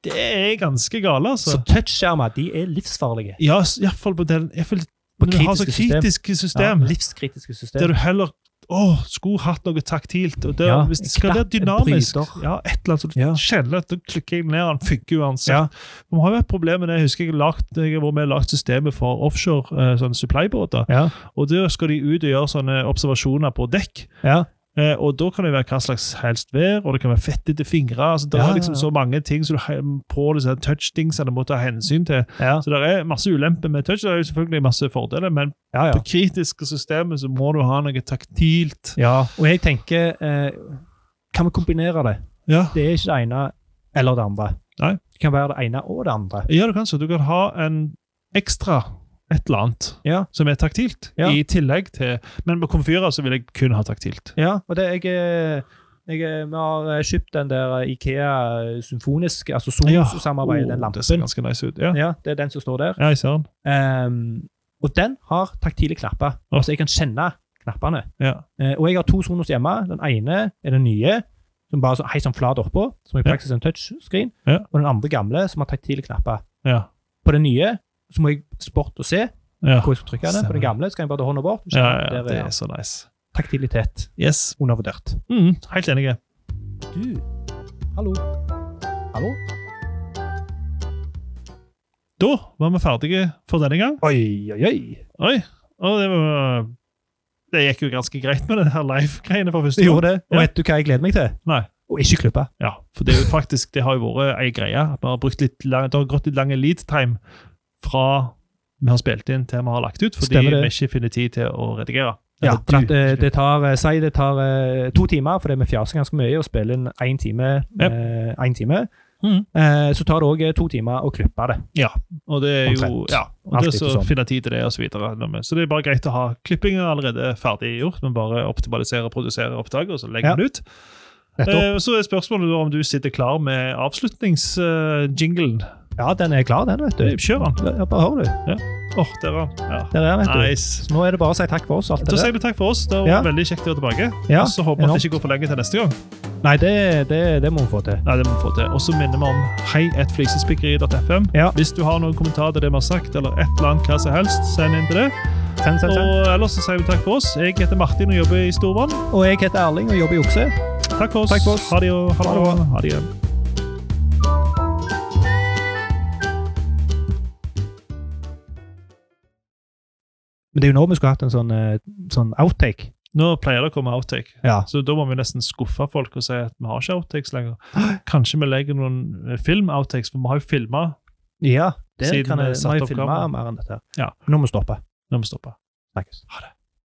Det er ganske gale, altså. Så touchskjermer de er livsfarlige. Ja, s- i hvert fall på den jeg føler, På Når du har så kritiske system. kritiske system, Ja, livskritiske der system. du heller å, skulle hatt noe taktilt. og der, Ja, Hvis det skal en være knapp, en dynamisk, bryter. ja, et eller annet, så du Ja. kjenner at da klikker jeg ned, han funker uansett. Ja. Vi har jo et problem med det. Jeg husker jeg har lagt, jeg har vært med og lagt systemet for offshore eh, sånn supplybåter. Ja, og Der skal de ut og gjøre sånne observasjoner på dekk. ja. Eh, og Da kan det være hva slags helst vær, og det kan være fettete fingre. altså Det Ja, er liksom ja, ja. så mange ting som du har på disse touch-dingsene må ta hensyn til. ja. Så det er masse ulemper med touch. Det er jo selvfølgelig masse fordeler, men ja, ja. på kritiske systemet så må du ha noe taktilt. ja. Og jeg tenker eh, Kan vi kombinere det? Ja, Det er ikke det ene eller det andre. Nei. Det kan være det ene og det andre. ja du kan så. Du kan ha en ekstra et eller annet Ja. som er taktilt, Ja. i tillegg til Men med komfyrer så vil jeg kun ha taktilt. Ja, og det jeg, eh, jeg eh, Vi har eh, kjøpt den der eh, Ikea eh, symfonisk, altså Sonos-samarbeidet, den Oh, det ser lampen. ganske nice ut. Ja, Ja, det er den som står der. ja jeg ser den. Ehm, og den har taktile knapper, Ja. så jeg kan kjenne knappene. Ja. Eh, og jeg har to Sonos hjemme. Den ene er den nye, som bare så, hei sånn flat oppå, som i Ja. praksis er en touchscreen. Ja. Og den andre gamle, som har taktile knapper. ja. På den nye så må jeg sport og se ja. hvor jeg skal trykke den. På den gamle så kan jeg bare ta hånda bort. og Ja, kjenne at ja, ja, der det er er så nice. Taktilitet Yes. undervurdert. Mm, helt enig. Du, hallo. Hallo? Da var vi ferdige for denne gang. Oi, oi, oi. Oi, og det var Det gikk jo ganske greit med det her live-greiene for første Du gjorde det. Og Ja. vet du hva jeg gleder meg til? Nei. Å ikke klippe. Ja, for det er jo faktisk Det har jo vært ei greie. Vi har brukt litt lang, det har gått litt lang lead time fra vi har spilt inn til vi har lagt ut, fordi Stemmer det. vi ikke finner tid til å redigere. Ja, Eller for du. at det, det tar, eh, Si det tar eh, to timer, fordi vi fjaser ganske mye og spiller inn én time. Yep. eh, en time. Mhm. Eh, så tar det òg to timer å klippe det. Ja, og det er jo Omtrent. ja, og Alt det er så litt sånn. finne tid til det og Så, videre. så det er bare greit å ha klippinga allerede ferdig gjort, men bare optimalisere, produsere opptak, og så legge Ja. den ut. Nettopp. Eh, så er spørsmålet da om du sitter klar med avslutningsjinglen. Eh, Ja, den er klar, den, vet du. Kjør den. Ja, bare hør, du. Åh, der er den. Ja. Der er den, vet du. Nice. Så nå er det bare å si takk for oss. alt Da det sier der. vi takk for oss. Det var Ja. veldig kjekt å være tilbake. Ja, og så håper vi at det enormt. ikke går for lenge til neste gang. Nei, det, det, det må vi få til. Nei, det må vi få til. Og så minner vi om hei.flisespikkeri.fm. Ja. Hvis du har noen kommentar til det vi har sagt, eller et eller annet hva som helst, send inn til det. Send, send, send. Og ellers så sier vi takk for oss. Jeg heter Martin og jobber i Storvann. Og jeg heter Erling og jobber i Okse. Takk for oss. Takk for oss. Ha det og ha det. Ha det bra. Ha det igjen. Men det er jo nå vi skulle hatt en sånn, eh, sånn outtake. Nå pleier det å komme outtake, Ja. så da må vi nesten skuffe folk og si at vi har ikke outtakes lenger. Kanskje vi legger noen eh, film-outtakes, for vi har jo filma Ja, det Siden kan vi jeg, satte nå har opp jeg filma kameraet. mer enn dette. her. Ja. Nå må vi stoppe. når vi stopper. Snakkes. Ha det.